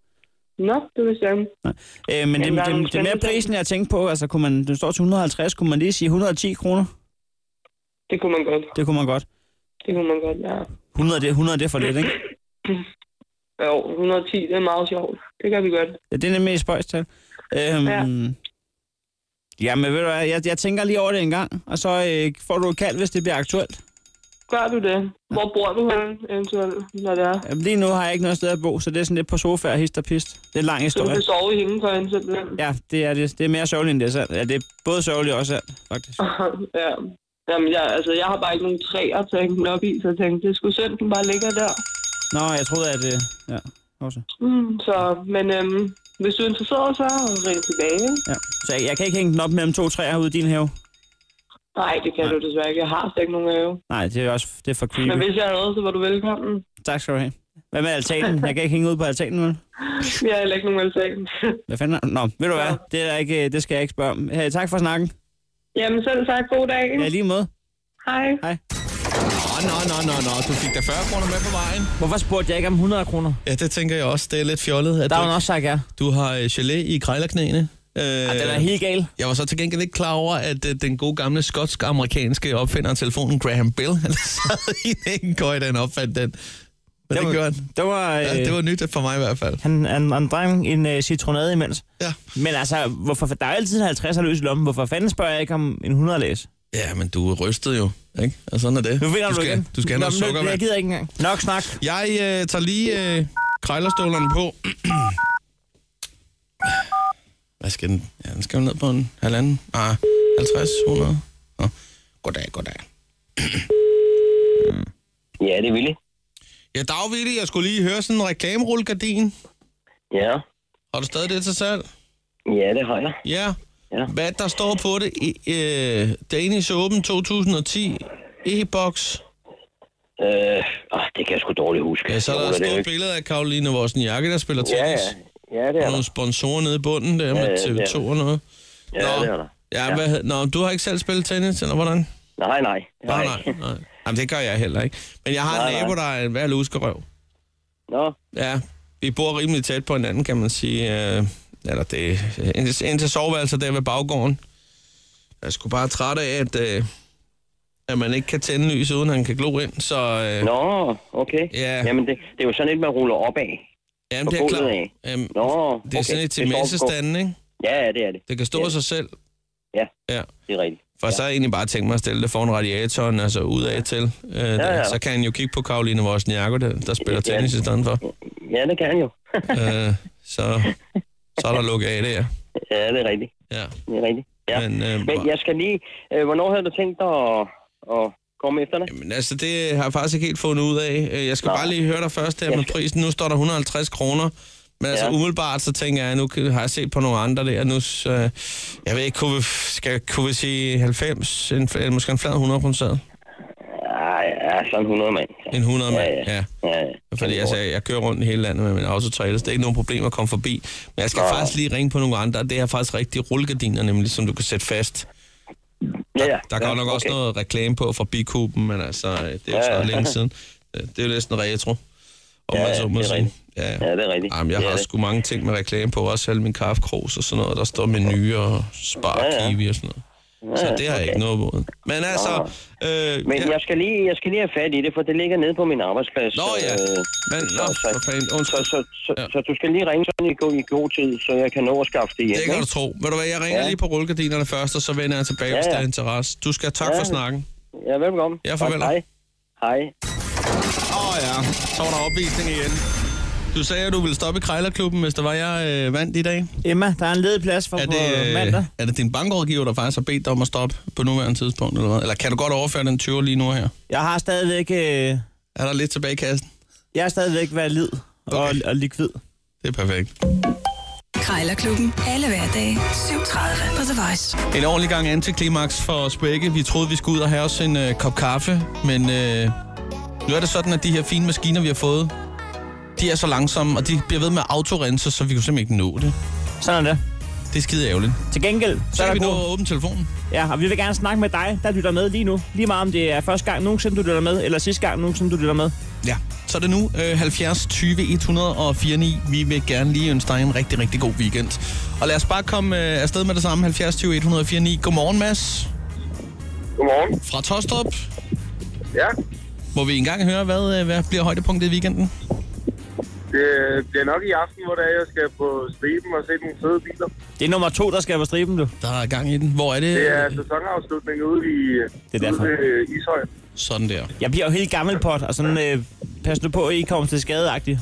S8: Nå, det vil jeg
S6: Øh, men det,
S8: Jamen, der er nogle
S6: det, det, er mere
S8: spændende
S6: prisen, jeg tænkte på. Altså, kunne man, den står til 150, kunne man lige sige 110 kroner?
S8: Det kunne man godt.
S6: Det kunne man godt.
S8: Det kunne man godt, ja.
S6: 100, det, 100 det er for lidt, ikke?
S8: Jo, 110, det er meget sjovt. Det kan vi godt.
S6: Ja, det er nemlig et spøjstal. Øhm,
S8: Ja.
S6: ja. Jamen, ved du hvad, jeg, jeg tænker lige over det en gang, og så øh, får du et kald, hvis det bliver aktuelt.
S8: Gør du det? Hvor bor du henne, eventuelt, når det er?
S6: Jamen, lige nu har jeg ikke noget sted at bo, så det er sådan lidt på sofa og hist og pist. Det er en lang
S8: Så du
S6: historie.
S8: kan sove i hængekøjen simpelthen?
S6: Ja, det er det. Det er mere sørgeligt, end det er sandt. Ja, det er både sørgeligt og også sandt, faktisk.
S8: Ah. ja. Jamen, jeg, altså, jeg har bare ikke nogen træer til at hænge den op i, så jeg tænkte, det skulle synd, den bare ligger der.
S6: Nå, jeg troede, at... Øh, ja, også.
S8: Mm, så, men øhm, hvis du er interesseret, så ring tilbage.
S6: Ja. Så jeg, jeg kan ikke hænge den op mellem to træer ude i din have.
S8: Nej, det kan Nej. du desværre ikke. Jeg har slet ikke nogen have.
S6: Nej, det er også det er for
S8: Men
S6: creepy.
S8: hvis jeg havde, så var du velkommen.
S6: Tak skal du have. Hvad med altanen? Jeg kan ikke hænge ud på altanen, vel?
S8: Vi har heller ikke nogen altan.
S6: Hvad fanden? er- Nå, ved du hvad? Det, er der ikke, det skal jeg ikke spørge om. Hey, tak for snakken.
S8: Jamen, selv tak. God dag.
S6: Ja, lige måde.
S8: Hej.
S2: Nå, nå, nå, nå, nå, du fik da 40 kroner med på vejen.
S6: Hvorfor spurgte jeg ikke om 100 kroner?
S2: Ja, det tænker jeg også. Det er lidt fjollet, at
S6: Der
S2: du,
S6: har hun også sagt ja.
S2: du har øh, gelé i krejlerknæene. Øh,
S6: Og den er helt gal.
S2: Jeg var så til gengæld ikke klar over, at øh, den gode gamle skotsk-amerikanske opfinder af telefonen, Graham Bell, han sad i en køj, da han opfandt den. Men det,
S6: var-
S2: det gjorde han.
S6: Det var, øh,
S2: Ja, det var nyt for mig i hvert fald.
S6: han, han, han drang en øh, citronade imens.
S2: Ja.
S6: Men altså, hvorfor, der er jo altid en 50 løs i lommen. Hvorfor fanden spørger jeg ikke om en 100 læs?
S2: Ja, men du er rystet jo, ikke? Og sådan er det.
S6: Nu vinder
S2: du
S6: du,
S2: skal,
S6: igen.
S2: Du skal have noget
S6: Nå, men
S2: sukker,
S6: Jeg
S2: mand.
S6: gider ikke engang. Nok snak.
S2: Jeg øh, tager lige øh, krejlerstålerne på. Hvad skal den? Ja, den skal jo ned på en halvanden. Ah, 50, 100. Nå. Goddag, goddag.
S9: Ja, det er Willy.
S2: Ja, dag, Vitti, jeg skulle lige høre sådan en reklamerullegardin.
S9: Ja.
S2: Har du stadig det til salg?
S9: Ja, det har jeg.
S2: Ja.
S9: Ja.
S2: Hvad der står på det? I, øh, Danish Open 2010 e-box.
S9: Øh, ah, det kan jeg sgu dårligt huske.
S2: Ja, så
S9: Jeg
S2: er der et
S9: ruller det jo
S2: stort
S9: ikke.
S2: billede af Karoline Vosniakke, der spiller tennis.
S9: Ja, ja. Ja, det
S2: Der
S9: er
S2: er
S9: der.
S2: nogle sponsorer nede i bunden der med
S9: ja, det er
S2: TV2
S9: der.
S2: og noget.
S9: Ja,
S2: Nå.
S9: det er der.
S2: Ja, ja. Hvad, hed- nå, du har ikke selv spillet tennis, eller hvordan?
S9: Nej, nej.
S2: Nej, nej. nej. Jamen, det gør jeg heller ikke. Men jeg har
S9: Nej,
S2: en
S9: nej.
S2: nabo, der er en værd luskerøv.
S9: Nå,
S2: Ja, vi bor rimelig tæt på hinanden, kan man sige. Øh, eller det indtil, indtil soveværelset der ved baggården. Jeg er sgu bare træt af, at, øh, at man ikke kan tænde lys, uden han kan glo ind. Så øh,
S9: nå, okay.
S2: Ja.
S9: Jamen, det, det er jo sådan et, man ruller op af.
S2: jamen,
S9: på
S2: det er klart.
S9: gulvet af.
S2: Jamen,
S9: Nå,
S2: det er
S9: okay.
S2: sådan et til
S9: står på-
S2: messestanden, ikke?
S9: Ja, ja, det er det.
S2: Det kan stå af
S9: Ja.
S2: sig selv.
S9: Ja.
S2: ja.
S9: Det er rigtigt.
S2: For ja. så har jeg egentlig bare tænkt mig at stille det foran radiatoren, altså ud af til. Øh, ja,
S9: ja.
S2: Så kan han jo kigge på Karoline Wozniacki, der, der spiller
S9: Ja.
S2: tennis i stedet for.
S9: Ja, det kan han jo.
S2: øh, så, så er der lukket af der.
S9: Ja, det er rigtigt.
S2: Ja.
S9: Det er rigtigt. Ja.
S2: Men, øh,
S9: Men jeg skal lige... Øh, hvornår havde du tænkt dig at, at komme efter det?
S2: Jamen, altså, det har jeg faktisk ikke helt fundet ud af. Øh, Jeg skal
S9: Nå.
S2: bare lige høre dig først her med prisen. Nu står der 150 kroner. Men altså,
S9: Ja.
S2: umiddelbart, så tænker jeg, nu kan- har jeg set på nogle andre der. Nu, s- øh, jeg ved ikke, kunne vi, skal, kunne vi sige 90, en, fl- eller måske en flad 100 procent?
S9: Ja, Ah, ja, sådan 100 mand.
S2: En 100 mand,
S9: Ja, ja.
S2: ja.
S9: ja. ja.
S2: Fordi altså, jeg kører rundt i hele landet med min autotrailer, så det er ikke nogen problem at komme forbi. Men jeg skal
S9: Nå.
S2: faktisk lige ringe på nogle andre, og det er faktisk rigtige rullegardiner, nemlig, som du kan sætte fast.
S9: ja, ja.
S2: Der går
S9: ja,
S2: nok også noget reklame på fra Bikuben, men altså, øh, det er jo
S9: Ja,
S2: så
S9: ja.
S2: længe siden. Øh, Det er jo næsten retro. om ja, man så må
S10: det er
S2: sige.
S10: rigtigt.
S2: Ja,
S10: Ja, det er rigtigt.
S2: Jamen, jeg
S10: det er
S2: har
S10: det.
S2: sgu mange ting med reklame på, også alle min kaffekros og sådan noget. Der står menuer og spar
S10: Ja, ja.
S2: kiwi og sådan noget.
S10: Ja,
S2: Så det har jeg
S10: okay.
S2: ikke noget imod. Men altså, øh,
S10: Men
S2: ja,
S10: jeg, skal lige, jeg skal lige have fat i det, for det ligger nede på min arbejdsplads.
S2: Nå ja.
S10: Øh,
S2: men, nå, for fanden,
S10: Så,
S2: undskyld.
S10: så, så,
S2: Ja.
S10: så, du skal lige ringe sådan i god, i god tid, så jeg kan nå at skaffe det hjem.
S2: Det kan du
S10: ikke?
S2: tro. Ved du hvad, jeg ringer
S10: Ja.
S2: lige på rullegardinerne først, og så vender jeg tilbage, hvis
S10: Ja,
S2: der
S10: ja.
S2: er interesse. Du skal have tak
S10: Ja.
S2: for snakken.
S10: Ja, velkommen.
S2: Ja, farvel.
S10: Godt, Hej. Hej.
S2: Åh oh, ja, så var der opvisning igen. Du sagde, at du ville stoppe i Krejlerklubben, hvis der var jeg øh, vandt i dag.
S6: Emma, der er en ledig plads for
S2: Er
S6: på
S2: det, øh,
S6: mandag.
S2: er det din bankrådgiver, der faktisk har bedt dig om at stoppe på nuværende tidspunkt? Eller, hvad? eller kan du godt overføre den 20 lige nu her?
S6: Jeg har stadigvæk, øh,
S2: Er der lidt tilbage i kassen?
S6: jeg er stadigvæk valid og,
S2: Okay.
S6: og likvid.
S2: Det er perfekt.
S4: Krejlerklubben. Alle hverdage. 7.30 på The Voice.
S2: En ordentlig gang antiklimaks for os begge. Vi troede, vi skulle ud og have os en øh, kop kaffe, men øh, nu er det sådan, at de her fine maskiner, vi har fået, de er så langsomme, og de bliver ved med at autorense, så vi kunne simpelthen ikke nå det.
S6: Sådan er det.
S2: Det er skide ærgerligt.
S6: Til gengæld,
S2: Så
S6: så er
S2: kan vi
S6: der
S2: nå
S6: god...
S2: at åbne telefonen.
S6: Ja, og vi vil gerne snakke med dig, der lytter med lige nu. Lige meget om det er første gang nogensinde, du lytter med, eller sidste gang nogensinde, du lytter med.
S2: Ja. Så er det nu øh, 70 20 104 9. Vi vil gerne lige ønske dig en rigtig, rigtig god weekend. Og lad os bare komme øh, afsted med det samme. 70 20 104 9. Godmorgen, Mads.
S9: Godmorgen.
S2: Fra Tostrup.
S9: Ja,
S2: Må vi engang høre, hvad, øh, hvad bliver højdepunktet i weekenden?
S9: det bliver nok i aften, hvor det er, jeg skal på striben og se nogle fede biler.
S6: Det er nummer to, der skal på striben, du.
S2: Der er gang i den. Hvor er det? øh,
S9: Det er sæsonafslutning ude i
S6: Det er derfor.
S9: ude ved Ishøj.
S2: Sådan der.
S6: Jeg bliver jo helt gammel pot, og sådan, øh, pas nu på, at I ikke kommer til skadeagtigt.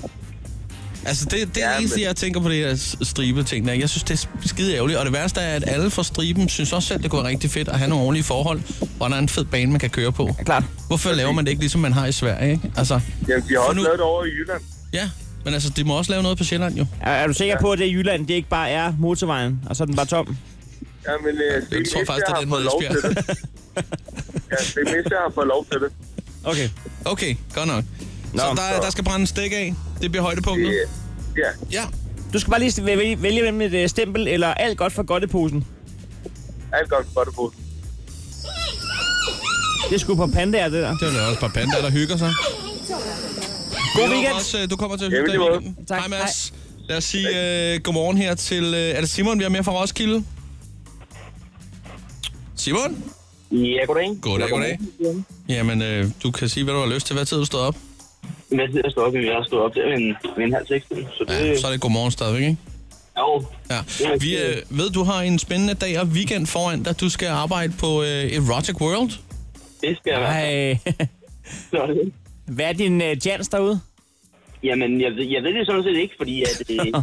S2: Altså, det, det er
S9: Ja,
S2: det eneste,
S9: men-
S2: jeg tænker på det her s- stribe-ting. der. Jeg synes, det er skide ærgerligt. Og det værste er, at alle fra striben synes også selv, det kunne være rigtig fedt at have nogle ordentlige forhold, hvor der er en fed bane, man kan køre på.
S6: Klart.
S2: Hvorfor laver man det ikke, ligesom man har i Sverige, ikke? Altså,
S9: Jamen, de har
S2: For
S9: også
S2: nu-
S9: lavet det over i Jylland.
S2: ja. Men altså, de må også lave noget på Sjælland, jo.
S6: Er, er du sikker på, at det i Jylland, det ikke bare er motorvejen, og så er den bare tom?
S9: Ja, men øh, Sten
S2: tror faktisk,
S9: Esbjerg
S2: det er
S9: har fået
S2: den mod
S9: lov til
S2: Esbjerg.
S9: det. Ja, Sten Esbjerg har fået lov til det.
S6: Okay.
S2: Okay, godt nok. Nå, så,
S6: Nå,
S2: der,
S9: så-
S2: der skal brænde en stik af. Det bliver højdepunktet.
S9: det ja,
S2: Ja.
S6: Du skal bare lige vælge, vælge mellem et øh, stempel eller alt godt for godt i posen.
S9: alt godt for det på.
S6: Det skulle på pandaer, det der.
S2: Det er jo også et par pandaer, der hygger sig.
S6: God
S2: Vi håber
S6: weekend.
S2: Også, øh, du kommer til at
S9: Jamen,
S2: hygge dig i
S9: lige måde.
S2: weekenden.
S6: Tak.
S2: Hej, Mads. Lad os sige øh, godmorgen her til... Øh, er det Simon, vi har med fra Roskilde? Simon?
S10: Ja, goddag.
S2: Goddag, goddag. Jamen, øh, du kan sige, hvad du har lyst til. Hvad tid du står op?
S10: Hvad tid jeg står op? Jeg står op der ved en, ved en halv seks. Så det...
S2: Ja, så er det godmorgen stadigvæk, ikke?
S10: Jo,
S2: Ja.
S10: er
S2: Vi
S10: rigtigt.
S2: øh, ved, du har en spændende dag og weekend foran dig. Du skal arbejde på øh, Erotic World.
S10: det skal jeg være.
S6: Ej. Hvad er din øh, jans derude?
S10: Jamen, jeg, ved- jeg ved det sådan set ikke, fordi at, øh,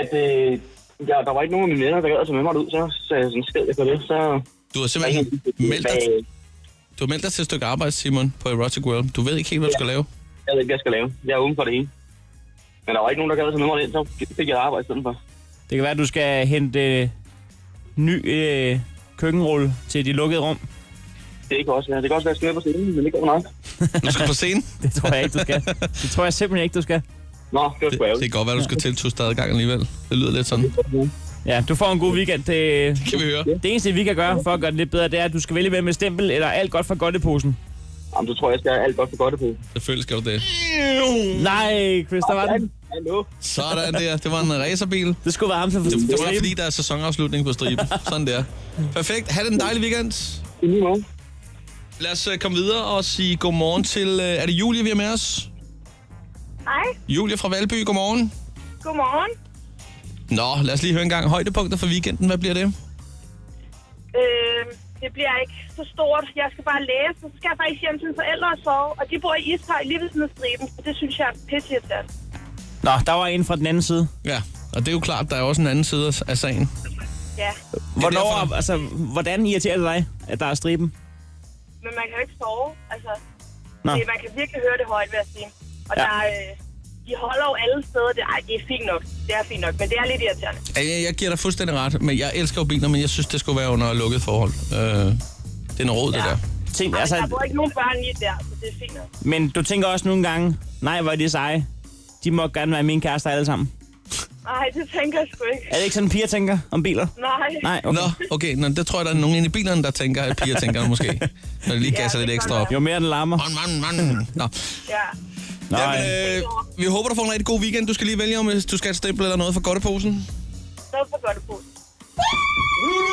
S10: at øh, der, der var ikke nogen af mine venner, der gad at tage med mig ud, så, så jeg sådan skrev det på det, så...
S2: Du har
S10: Der er
S2: simpelthen
S10: ikke en-
S2: meldt dig,
S10: hvad,
S2: du har meldt dig til et stykke arbejde, Simon, på Erotic World. Du ved ikke helt, hvad du skal lave.
S10: Jeg ved ikke, hvad jeg skal lave. Jeg er åben for det hele. Men der var ikke nogen, der gad at tage med mig ind, så fik jeg et arbejde i stedet for.
S6: Det kan være, at du skal hente øh, ny øh, køkkenrulle til de lukkede rum.
S10: Det kan også være. Det kan også være, at jeg skal med på scenen, men det går nok.
S2: Du skal på scenen.
S6: Det tror jeg ikke, du skal. Det tror jeg simpelthen ikke, du skal.
S10: Nå, det var
S2: Det,
S10: sgu
S2: det
S10: ærgerligt.
S2: kan godt være, du skal tiltuste adgang alligevel. Det lyder lidt sådan.
S6: Ja, du får en god weekend. Det,
S2: Kan vi høre?
S6: det eneste, vi kan gøre for at gøre det lidt bedre, det er, at du skal vælge mellem et stempel eller alt godt for godt i posen.
S10: Jamen, så tror jeg, jeg skal have alt godt for godt på.
S2: Selvfølgelig skal du det.
S6: Nej, Chris, der var den.
S10: Hallo?
S2: Sådan der. Det var en racerbil.
S6: Det skulle være ham, der
S2: Det, det var fordi, der er sæsonafslutning på striben. Sådan der. Perfekt. Ha' den dejlige weekend.
S10: I lige måde.
S2: Lad os øh, komme videre og sige godmorgen til... øh, Er det Julie, vi har med os?
S7: Hej,
S2: Julie fra Valby, godmorgen.
S7: godmorgen.
S2: Nå, lad os lige høre en gang. Højdepunkter for weekenden, hvad bliver det?
S7: Øh, det bliver ikke så stort. Jeg skal bare læse, og så skal jeg faktisk hjem til mine forældre og sove. Og de bor i Ishøj lige ved siden af striben. Og det synes jeg er pisse
S6: Nå, der var en fra den anden side.
S2: Ja, og det er jo klart, der er også en anden side af- af sagen.
S7: Ja,
S6: Hvornår,
S2: derfor.
S6: altså, hvordan irriterer det dig, at der er striben?
S7: men man kan jo ikke sove. Altså,
S6: Nå.
S7: det, man kan virkelig høre det højt, vil jeg sige. Og
S6: Ja.
S7: ja. der, øh, de holder jo alle steder. Det, ej, det er fint nok. Det er fint nok, men det er lidt irriterende.
S2: Ja, Jeg, jeg giver dig fuldstændig ret, men jeg elsker jo biler, men jeg synes, det skulle være under lukket forhold. Øh, det er noget råd, ja. det der.
S6: Tænk,
S7: Altså, der bor
S6: altså,
S7: ikke nogen børn lige der, så det er fint nok.
S6: men du tænker også nogle gange, nej, hvor er de seje. De må gerne være mine kærester alle sammen.
S7: Nej, det tænker jeg sgu ikke.
S6: Er det ikke sådan, piger tænker om biler?
S7: Nej.
S6: Nej, okay.
S2: Okay. Nå, okay, nå, det tror jeg, der er nogen inde i bilerne, der tænker, at piger tænker måske. Når de lige
S7: Ja,
S2: gasser
S7: det
S2: lidt
S7: kan
S2: ekstra
S7: være.
S2: op.
S6: Jo mere den larmer.
S2: Man, man, man. Nå.
S7: Ja.
S2: Jamen, øh, vi håber, du får en rigtig god weekend. Du skal lige vælge, om øh, du skal have et stempel eller noget fra godteposen.
S7: Så for godt på.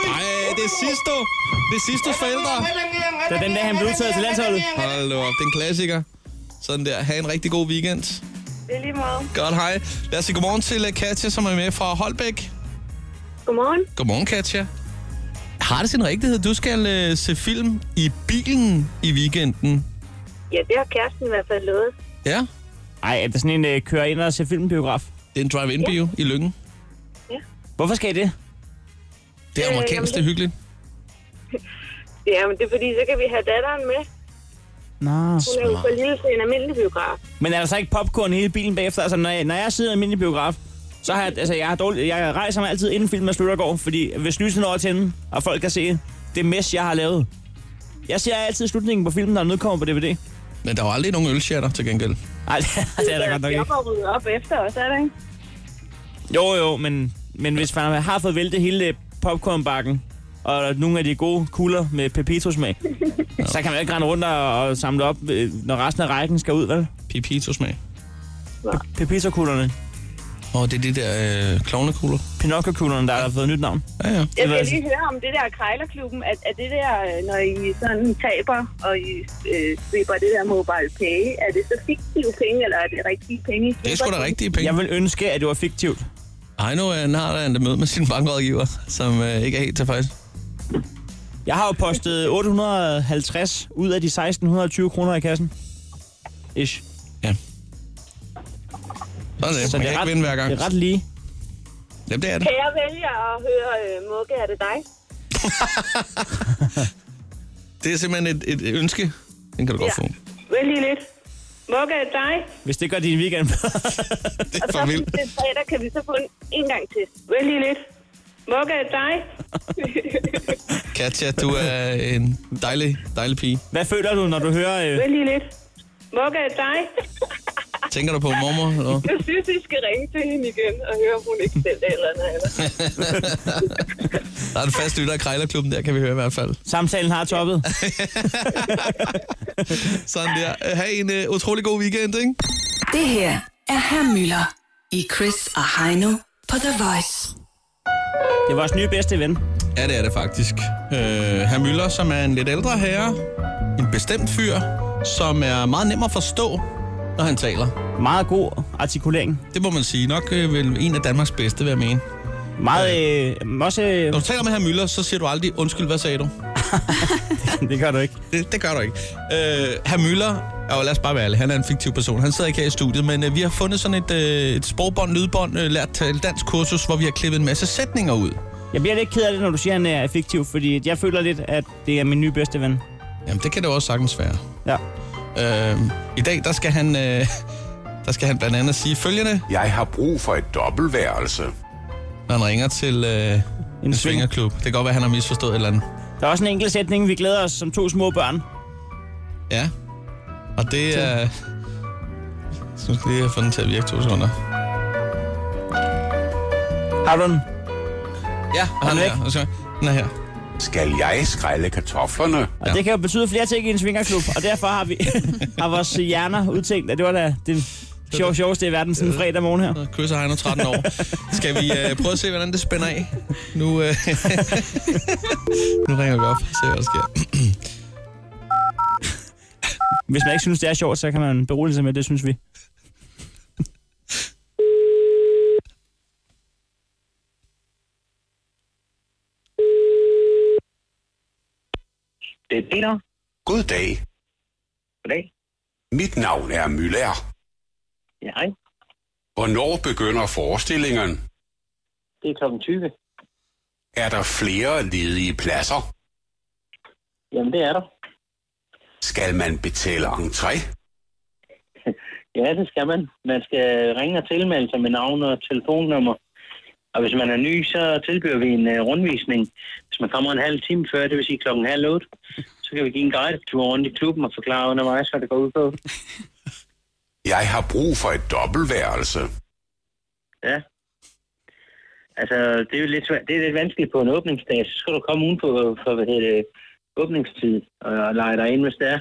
S2: Nej, det er Sisto. Det er Sistos forældre.
S6: Det er den dag, han blev udtaget til landsholdet.
S2: Hold nu op, det er en klassiker. Sådan der. Ha' en rigtig god weekend.
S7: Det er lige meget.
S2: Godt, hej. Lad os sige godmorgen til øh, Katja, som er med fra Holbæk.
S7: Godmorgen.
S2: Godmorgen, Katja. Har det sin rigtighed? Du skal øh, se film i bilen i weekenden.
S7: Ja, det har kæresten i hvert fald lovet.
S2: Ja?
S6: Ej, er det sådan en øh, kører ind og se filmbiograf?
S2: Det er en drive-in-bio i Lyngge.
S7: Ja.
S6: Hvorfor skal I det?
S2: Det er
S7: Øh, jamen,
S2: amerikansk, det er
S7: det-
S2: hyggeligt.
S7: Ja, men det er fordi, så kan vi have datteren med.
S6: Nå.
S7: Hun er jo for lille til en almindelig biograf.
S6: Men er der så ikke popcorn i hele bilen bagefter? Altså, når jeg, når jeg sidder i min biograf, så har jeg, altså, jeg, har dårlig, jeg rejser mig altid inden filmen slutter og går, fordi hvis lyset når at tænde, og folk kan se det mess, jeg har lavet. Jeg ser altid slutningen på filmen, når den udkommer på DVD.
S2: Men der er jo aldrig nogen ølshatter til gengæld.
S6: Nej, det er der godt nok ikke.
S7: Jeg rydde op efter os, er det ikke?
S6: Jo, jo, men, men hvis man har fået væltet hele øh, popcornbakken, og nogle af de gode kugler med pepito-smag, så kan man jo ikke rende rundt og, og samle op, øh, når resten af rækken skal ud, vel?
S2: Pipito-smag.
S6: Pepito-kuglerne.
S2: Og det er de der øh, klovnekugler.
S6: Pinocchio-kuglerne, der har fået nyt navn.
S2: Ja, ja.
S7: Jeg
S6: Det
S7: skal
S6: var-
S7: lige høre om det der krejlerklubben, at, at det der, øh, når I sådan taber, og I øh, slipper det der mobile pay, er det så fiktive penge, eller er det rigtige penge? I
S2: Det er sgu
S7: slipper?
S2: da rigtige penge.
S6: Jeg vil ønske, at det var fiktivt.
S2: Ej, nu er har der et møde med sin bankrådgiver, som øh, ikke er helt tilfreds.
S6: Jeg har jo postet 850 ud af de 1620 kroner i kassen. Ish.
S2: Sådan er det. Man kan ikke
S6: ret,
S2: vinde hver gang.
S6: det er ret lige.
S2: Jamen, det er det.
S7: Kan jeg vælge at høre, øh, Mugge, er det dig?
S2: Det er simpelthen et, et ønske. Den kan du godt
S7: Ja.
S2: få.
S7: Vælg lige lidt. Mugge, er det dig?
S6: Hvis det gør din weekend bedre.
S2: Det
S7: Og så
S2: er for
S7: på
S2: vildt.
S7: den fredag kan vi så få en, en gang til. Vælg lige lidt. Mugge, er det dig?
S2: Katja, du er en dejlig, dejlig pige.
S6: Hvad føler du, når du hører... Øh,
S7: Vælg lige lidt. Mugge, er det dig?
S2: Tænker du på mormor? Eller? hvad?
S7: Jeg synes, I skal ringe til hende igen og høre, om hun ikke selv eller andet.
S2: Der er en fast lytter af Krejlerklubben, der kan vi høre i hvert fald.
S6: samtalen har toppet.
S2: Sådan der. Øh, Ha' en uh, utrolig god weekend, ikke?
S4: Det her er Herr Møller i Chris og Heino på The Voice.
S6: Det er vores nye bedste ven.
S2: Ja, det er det faktisk. Øh, Herr Møller, som er en lidt ældre herre. En bestemt fyr, som er meget nem at forstå, når han taler.
S6: Meget god artikulering.
S2: Det må man sige. Nok øh, vel en af Danmarks bedste, vil jeg mene.
S6: Meget... Øh, også... Øh,
S2: Når du taler med herr Møller, så siger du aldrig, undskyld, hvad sagde du?
S6: det gør du ikke.
S2: Det, det gør du ikke. Øh, herr Møller, og lad os bare være ærlige, han er en fiktiv person. Han sidder ikke her i studiet, men øh, vi har fundet sådan et, øh, et sprogbånd, lydbånd, øh, lært til dansk kursus, hvor vi har klippet en masse sætninger ud.
S6: Jeg bliver lidt ked af det, når du siger, at han er fiktiv, fordi jeg føler lidt, at det er min nye bedste ven.
S2: Jamen, det kan det jo også sagtens være.
S6: Ja.
S2: Øh, I dag, der skal han... Øh, der skal han blandt andet sige følgende,
S3: Jeg har brug for et dobbeltværelse.
S2: når han ringer til øh, en
S6: En sving.
S2: svingerklub. Det kan godt være, han har misforstået et eller andet.
S6: Der er også en enkelt sætning, vi glæder os som to små børn.
S2: Ja. Og det er... Jeg synes lige, jeg har fundet til at virke to sekunder.
S6: Har du den?
S2: Ja, han er
S6: væk?
S2: her. Og så- Den er her.
S3: Skal jeg skrælle kartoflerne?
S6: Og ja. det kan jo betyde flere ting i en svingerklub, og derfor har vi har vores hjerner udtænkt, at det var da det sjov, sjoveste i verden sådan en fredag morgen her.
S2: Chris og Heino, 13 år. Skal vi øh, prøve at se, hvordan det spænder af? Nu, øh, nu ringer vi op og ser, hvad der sker.
S6: Hvis man ikke synes, det er sjovt, så kan man berolige sig med, det synes vi.
S10: Det er Peter.
S3: God dag.
S10: Goddag.
S3: Mit navn er Müller.
S10: Ja, hej.
S3: Hvornår begynder forestillingen?
S10: Det er klokken 20.
S3: Er der flere ledige pladser?
S10: Jamen, det er der.
S3: Skal man betale entré?
S10: Ja, det skal man. Man skal ringe og tilmelde sig med navn og telefonnummer. Og hvis man er ny, så tilbyder vi en uh, rundvisning. Hvis man kommer en halv time før, det vil sige klokken halv otte, så kan vi give en guidetur rundt i klubben og forklare undervejs, hvad det går ud på.
S3: Jeg har brug for et dobbeltværelse.
S10: Ja. Altså, det er jo lidt, svært. det er lidt vanskeligt på en åbningsdag. Så skal du komme udenpå for, hvad hedder det, åbningstid og lege dig ind, hvis det er.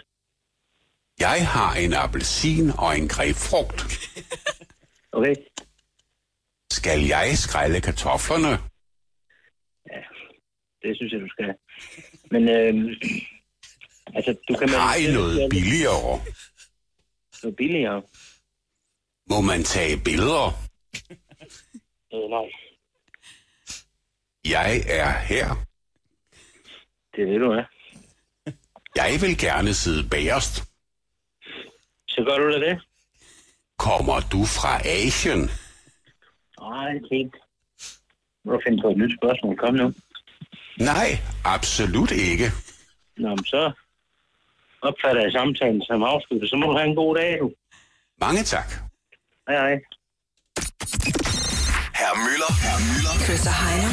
S3: Jeg har en appelsin og en grebfrugt.
S10: Okay.
S3: Skal jeg skrælle kartoflerne?
S10: Det synes jeg, du skal. Men øhm, altså, du kan...
S3: Har I noget billigere?
S10: Noget billigere?
S3: Må man tage billeder?
S10: Øh, nej,
S3: Jeg er her.
S10: det ved du, ja.
S3: Jeg vil gerne sidde bagerst.
S10: Så gør du da det?
S3: Kommer du fra Asien?
S10: Nej, det er fint. Må du finde på et nyt spørgsmål. Kom nu.
S3: Nej, absolut ikke.
S10: Nå, men så opfatter jeg samtalen som afsluttet. Så må du have en god dag, du.
S3: Mange tak.
S10: Hej, hej.
S1: Herr Møller. Herr Møller.
S4: Chris og Heino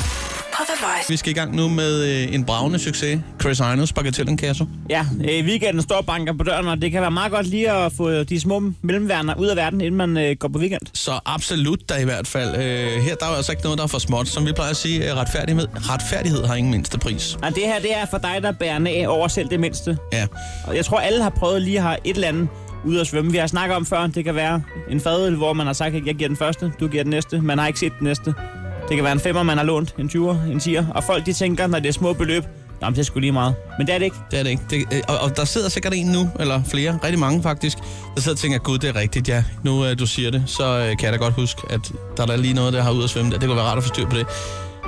S4: på The Voice.
S2: Vi skal i gang nu med øh, en bravende succes. Chris Einos, Bagatellenkasse.
S6: Ja, øh, weekenden står og banker på døren, og det kan være meget godt lige at få øh, de små mellemværner ud af verden, inden man øh, går på weekend.
S2: Så absolut der i hvert fald. Øh, her der er jo altså ikke noget, der er for småt. Som vi plejer at sige, øh, retfærdighed, retfærdighed har ingen mindste pris.
S6: Og det her, det er for dig, der bærer af over selv det mindste.
S2: Ja.
S6: Og jeg tror, alle har prøvet lige at have et eller andet ude at svømme. Vi har snakket om før, det kan være en fadøl, hvor man har sagt, at jeg giver den første, du giver den næste. Man har ikke set den næste. Det kan være en femmer, man har lånt, en 20'er, en 10'er. Og folk de tænker, når det er små beløb, Nå, men det er sgu lige meget. Men det er det ikke.
S2: Det er det ikke. Det, øh, og, og der sidder sikkert en nu, eller flere, rigtig mange faktisk, der sidder og tænker, gud, det er rigtigt, ja. Nu øh, du siger det, så øh, kan jeg da godt huske, at der er da lige noget, der har ud at svømme der. Det kunne være rart at få styr på det.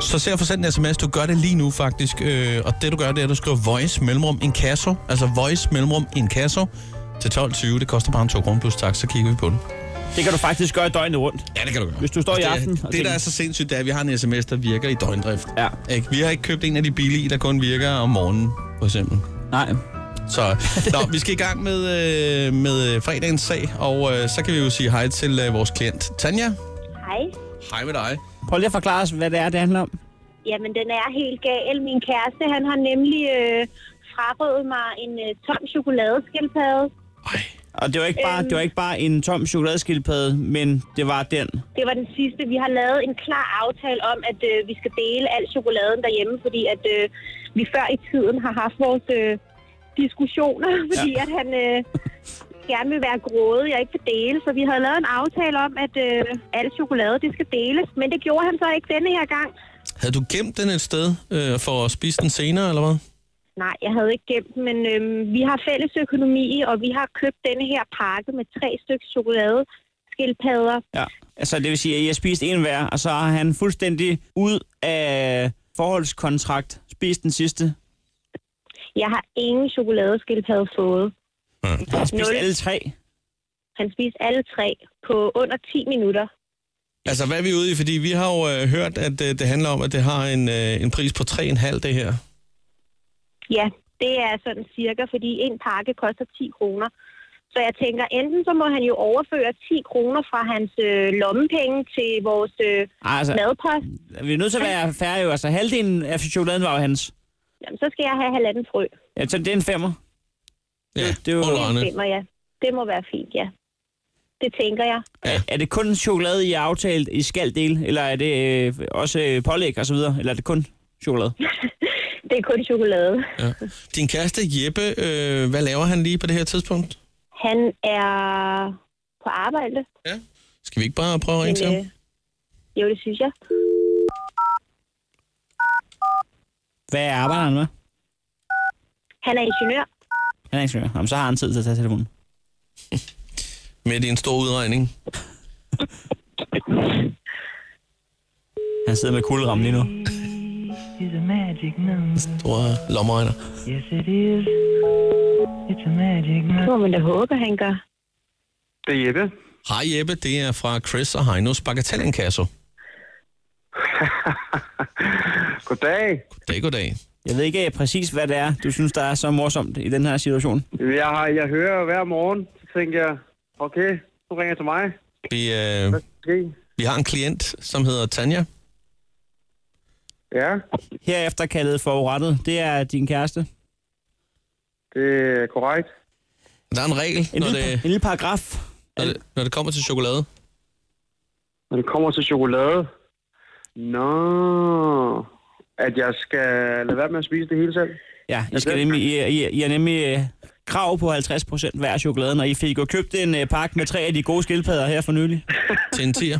S2: Så se at få sendt en sms. Du gør det lige nu faktisk. Øh, og det du gør, det er, at du skriver voice mellemrum en kasso. Altså voice mellemrum en kasso til 12.20. Det koster bare en 2 kroner plus tak, så kigger vi på den.
S6: Det kan du faktisk gøre døgnet rundt.
S2: Ja, det kan du gøre.
S6: Hvis du står i
S2: det,
S6: aften og
S2: Det, der
S6: tænker-
S2: er så sindssygt, det er, at vi har en sms, der virker i døgndrift.
S6: Ja.
S2: Ikke? Vi har ikke købt en af de billige, der kun virker om morgenen, for eksempel.
S6: Nej.
S2: Så nå, vi skal i gang med, øh, med øh, fredagens sag, og øh, så kan vi jo sige hej til øh, vores klient Tanja.
S11: Hej.
S2: Hej med dig.
S6: Prøv lige at forklare os, hvad det er, det handler om.
S11: Jamen, den er helt gal. Min kæreste, han har nemlig øh, frarøvet mig en øh, tom chokoladeskildpadde.
S6: Og det var ikke bare, det var ikke bare en tom chokoladeskildpadde, men det var den.
S11: Det var den sidste. Vi har lavet en klar aftale om, at øh, vi skal dele al chokoladen derhjemme, fordi at øh, vi før i tiden har haft vores øh, diskussioner, fordi at han øh, gerne vil være grådig og ikke vil dele. Så vi havde lavet en aftale om, at øh, al chokolade, det skal deles. Men det gjorde han så ikke denne her gang.
S2: Havde du gemt den et sted øh, for at spise den senere, eller hvad?
S11: Nej, jeg havde ikke gemt dem, men øhm, vi har fælles økonomi, og vi har købt denne her pakke med tre stykker chokoladeskildpadder.
S6: Ja. Altså, det vil sige, at jeg spiste en hver, og så har han fuldstændig ud af forholdskontrakt spist den sidste.
S11: Jeg har ingen chokoladeskildpadde fået.
S6: Han har spist
S11: Nul.
S6: alle tre.
S11: Han spiste alle tre på under 10 minutter.
S2: Altså, hvad er vi ude i? Fordi vi har jo øh, hørt, at øh, det handler om, at det har en, øh, en pris på 3,5 det her.
S11: Ja, det er sådan cirka, fordi en pakke koster 10 kroner. Så jeg tænker, enten så må han jo overføre 10 kroner fra hans øh, lommepenge til vores øh,
S6: Ej, altså,
S11: madpost.
S6: vi er nødt til at være færre jo. Altså, halvdelen af chokoladen var jo hans.
S11: Jamen, så skal jeg have halvanden frø.
S6: Ja, så det er en femmer.
S2: Ja,
S6: det er jo-
S2: under
S11: Det
S2: Arne.
S11: stemmer, ja. Det må være fint, ja. Det tænker jeg.
S6: Ja. Er det kun chokolade, I har aftalt, I skal dele? Eller er det øh, også øh, pålæg og så videre? Eller er det kun chokolade?
S11: Det er kun chokolade.
S2: Ja. Din kæreste Jeppe, øh, hvad laver han lige på det her tidspunkt?
S11: Han er på arbejde.
S2: Ja. Skal vi ikke bare prøve at ringe til ham?
S11: øh, jo, det synes jeg.
S6: Hvad arbejder han med?
S11: Han er ingeniør.
S6: Han er ingeniør. Jamen, så har han tid til at tage telefonen.
S2: Med en stor udregning.
S6: Han sidder med kulderammen lige nu.
S2: Store lommeregner.
S11: Det må man da håbe, han gør.
S12: Det er Jeppe.
S2: Hej Jeppe, det er fra Chris og Heinos Bagatellenkasso.
S12: Goddag.
S2: Goddag, goddag.
S6: Jeg ved ikke øh, præcis, hvad det er, du synes, der er så morsomt i den her situation.
S12: Jeg, har, jeg hører hver morgen, så tænker jeg, okay, nu ringer til mig.
S2: Vi, øh,
S12: Okay.
S2: vi har en klient, som hedder Tanja.
S12: Ja,
S6: Herefter kaldet forurettet, det er din kæreste.
S12: det er korrekt.
S2: Der er en regel,
S6: En,
S2: når
S6: lille, en
S2: det,
S6: lille paragraf.
S2: når, det, når det kommer til chokolade.
S12: Når det kommer til chokolade, nå, at jeg skal lade være med at spise det hele selv.
S6: Ja, I, skal nemlig, I, I, I har nemlig øh, krav på 50% hver af chokoladen, og I fik jo købt en øh, pakke med tre af de gode skildpadder her for nylig.
S2: Til en tier.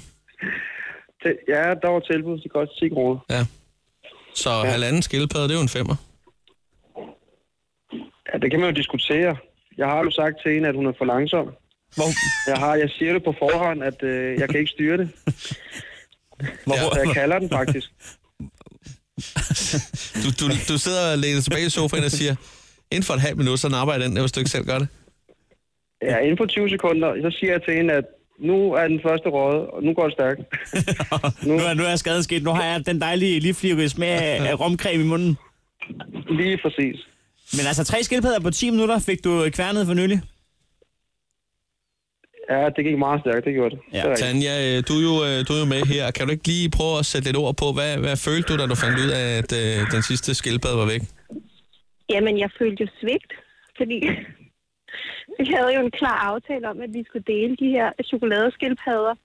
S12: Til- Ja, der var tilbud til godt 10 kroner.
S2: Ja. Så ja. halvanden skildpadde, det er jo en femmer.
S12: Ja, det kan man jo diskutere. Jeg har jo sagt til hende, at hun er for langsom.
S6: Hvor?
S12: Jeg, har, jeg siger det på forhånd, at øh, jeg kan ikke styre det.
S6: Hvor?
S12: Så jeg kalder den faktisk.
S2: Du, du, du sidder og læner dig tilbage i sofaen og siger, inden for et halvt minut, så napper jeg den, der, hvis du ikke selv gør det.
S12: Ja, inden for 20 sekunder, så siger jeg til hende, at nu er den første råde, og nu går det stærkt.
S6: Nu, nu, er, nu er skaden sket. Nu har jeg den dejlige livflirige smag af, af romcreme i munden.
S12: Lige præcis.
S6: Men altså, tre skildpadder på 10 minutter fik du kværnet for nylig.
S12: Ja, det gik meget stærkt, det gjorde det. det er
S2: Ja.
S12: rigtigt.
S2: Tanja, øh, du er, jo, øh, du er jo med her. Kan du ikke lige prøve at sætte lidt ord på, hvad, hvad følte du, da du fandt ud af, at øh, den sidste skildpadde var væk?
S11: Jamen, jeg følte jo svigt, fordi vi havde jo en klar aftale om, at vi skulle dele de her chokoladeskildpadder.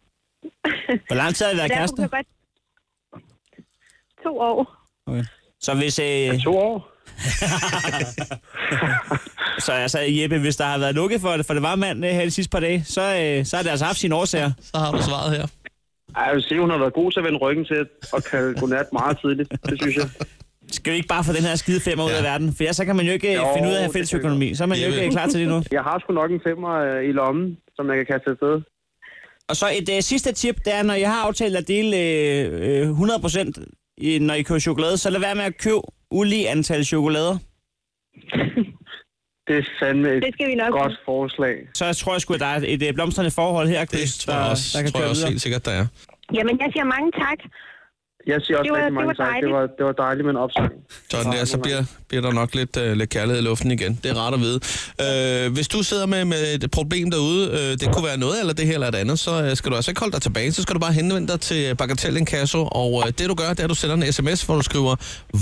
S6: Hvor lang tid har I været
S11: Derfor
S6: kærester?
S11: kunne jeg godt- To år.
S6: Okay. Så hvis... Øh...
S12: To år?
S6: så altså, Jeppe, hvis der har været lukket for det, for det var mand øh, her de sidste par dage, så, øh, så har det altså haft sine årsager.
S2: Så har du svaret her.
S12: Ej, jeg vil sige, hun har været god til at vende ryggen til og kalde godnat meget tidligt, det synes jeg.
S6: Skal vi ikke bare få den her skide femmer ud af verden? For ja, så kan man jo ikke jo, finde ud af
S12: det
S6: fælles
S12: kan vi
S6: økonomi. Så er man jo ikke øh, klar til det nu.
S12: Jeg har sgu nok en femmer øh, i lommen, som jeg kan kaste afsted.
S6: Og så et øh, sidste tip, det er, når jeg har aftalt at dele øh, øh, 100%, i, når I køber chokolade, så lad være med at købe ulige antal chokolader.
S12: Det er fandme et
S11: Det skal vi nok.
S12: godt forslag.
S6: Så tror jeg sgu, at der er et øh, blomstrende forhold her, Chris,
S2: Tror jeg også,
S6: der kan
S2: tror
S6: køre
S2: jeg også
S6: videre.
S2: helt sikkert, der er.
S11: Jamen, jeg siger mange tak.
S12: Jeg siger også
S11: Det var-
S12: rigtig mange
S11: det var
S12: tak. Det
S11: dejligt.
S12: var, det var dejligt med en opsang.
S2: Sådan der, så bliver, bliver der nok lidt, øh, lidt kærlighed i luften igen. Det er rart at vide. Øh, hvis du sidder med, med et problem derude, øh, det kunne være noget eller det her eller det andet, så øh, skal du altså ikke holde dig tilbage. Så skal du bare henvende dig til Bagatell Inkasso, og øh, det du gør, det er, at du sender en sms, hvor du skriver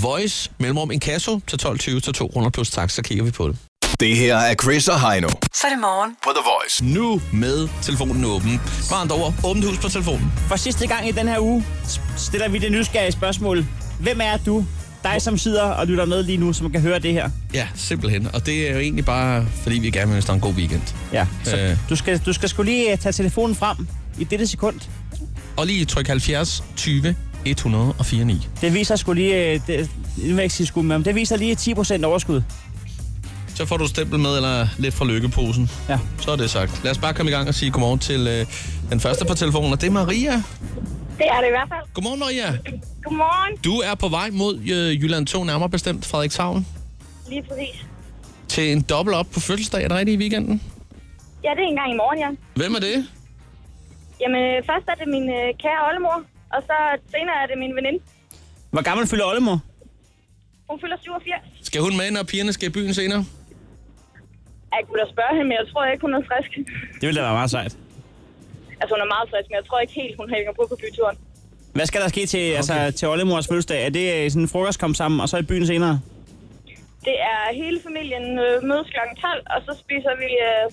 S2: Voice mellemrum Inkasso til 12.20 til 2 kroner plus tak, så kigger vi på det.
S13: Det her er Chris og Heino.
S4: Så er det morgen.
S13: På The Voice.
S2: Nu med telefonen åben. Med andre ord, åbent hus på telefonen.
S6: For sidste gang i den her uge s- stiller vi det nysgerrige spørgsmål. Hvem er du? Dig, som sidder og lytter med lige nu, som kan høre det her.
S2: Ja, simpelthen. Og det er jo egentlig bare, fordi vi gerne vil ønske dig en god weekend.
S6: Ja,
S2: så... øh,
S6: Du skal, du skal skulle lige øh, tage telefonen frem i dette sekund.
S2: og lige tryk 70 20 104 9.
S6: Det viser sgu lige... øh, Det, jeg vil ikke sige sgu, men det viser lige 10% overskud.
S2: Så får du et stempel med, eller lidt fra lykkeposen.
S6: Ja.
S2: Så er det sagt. Lad os bare komme i gang og sige godmorgen til øh, den første på telefonen, og det er Maria.
S14: Det er det i hvert fald.
S2: Godmorgen, Maria.
S14: Godmorgen.
S2: Du er på vej mod øh, Jylland 2, nærmere bestemt Frederikshavn,
S14: Lige præcis.
S2: til en dobbelt op på fødselsdag. Er det rigtigt i weekenden?
S14: Ja, det er en gang i morgen, ja.
S2: Hvem er det?
S14: Jamen, øh, først er det min øh, kære oldemor, og så senere er det min veninde.
S6: Hvor gammel fylder Oldemor?
S14: Hun fylder 87.
S2: Skal hun med, når pigerne skal i byen senere?
S14: Jeg kunne da spørge hende, men jeg tror ikke, hun er frisk.
S6: Det ville da være meget sejt.
S14: Altså, hun er meget frisk, men jeg tror ikke helt, hun hænger på på byturen.
S6: Hvad skal der ske til, okay. altså, til Oldemors fødselsdag? Er det øh, sådan en frokost kom sammen, og så i byen senere?
S14: Det er hele familien øh, mødes kl. 12, og så spiser vi øh,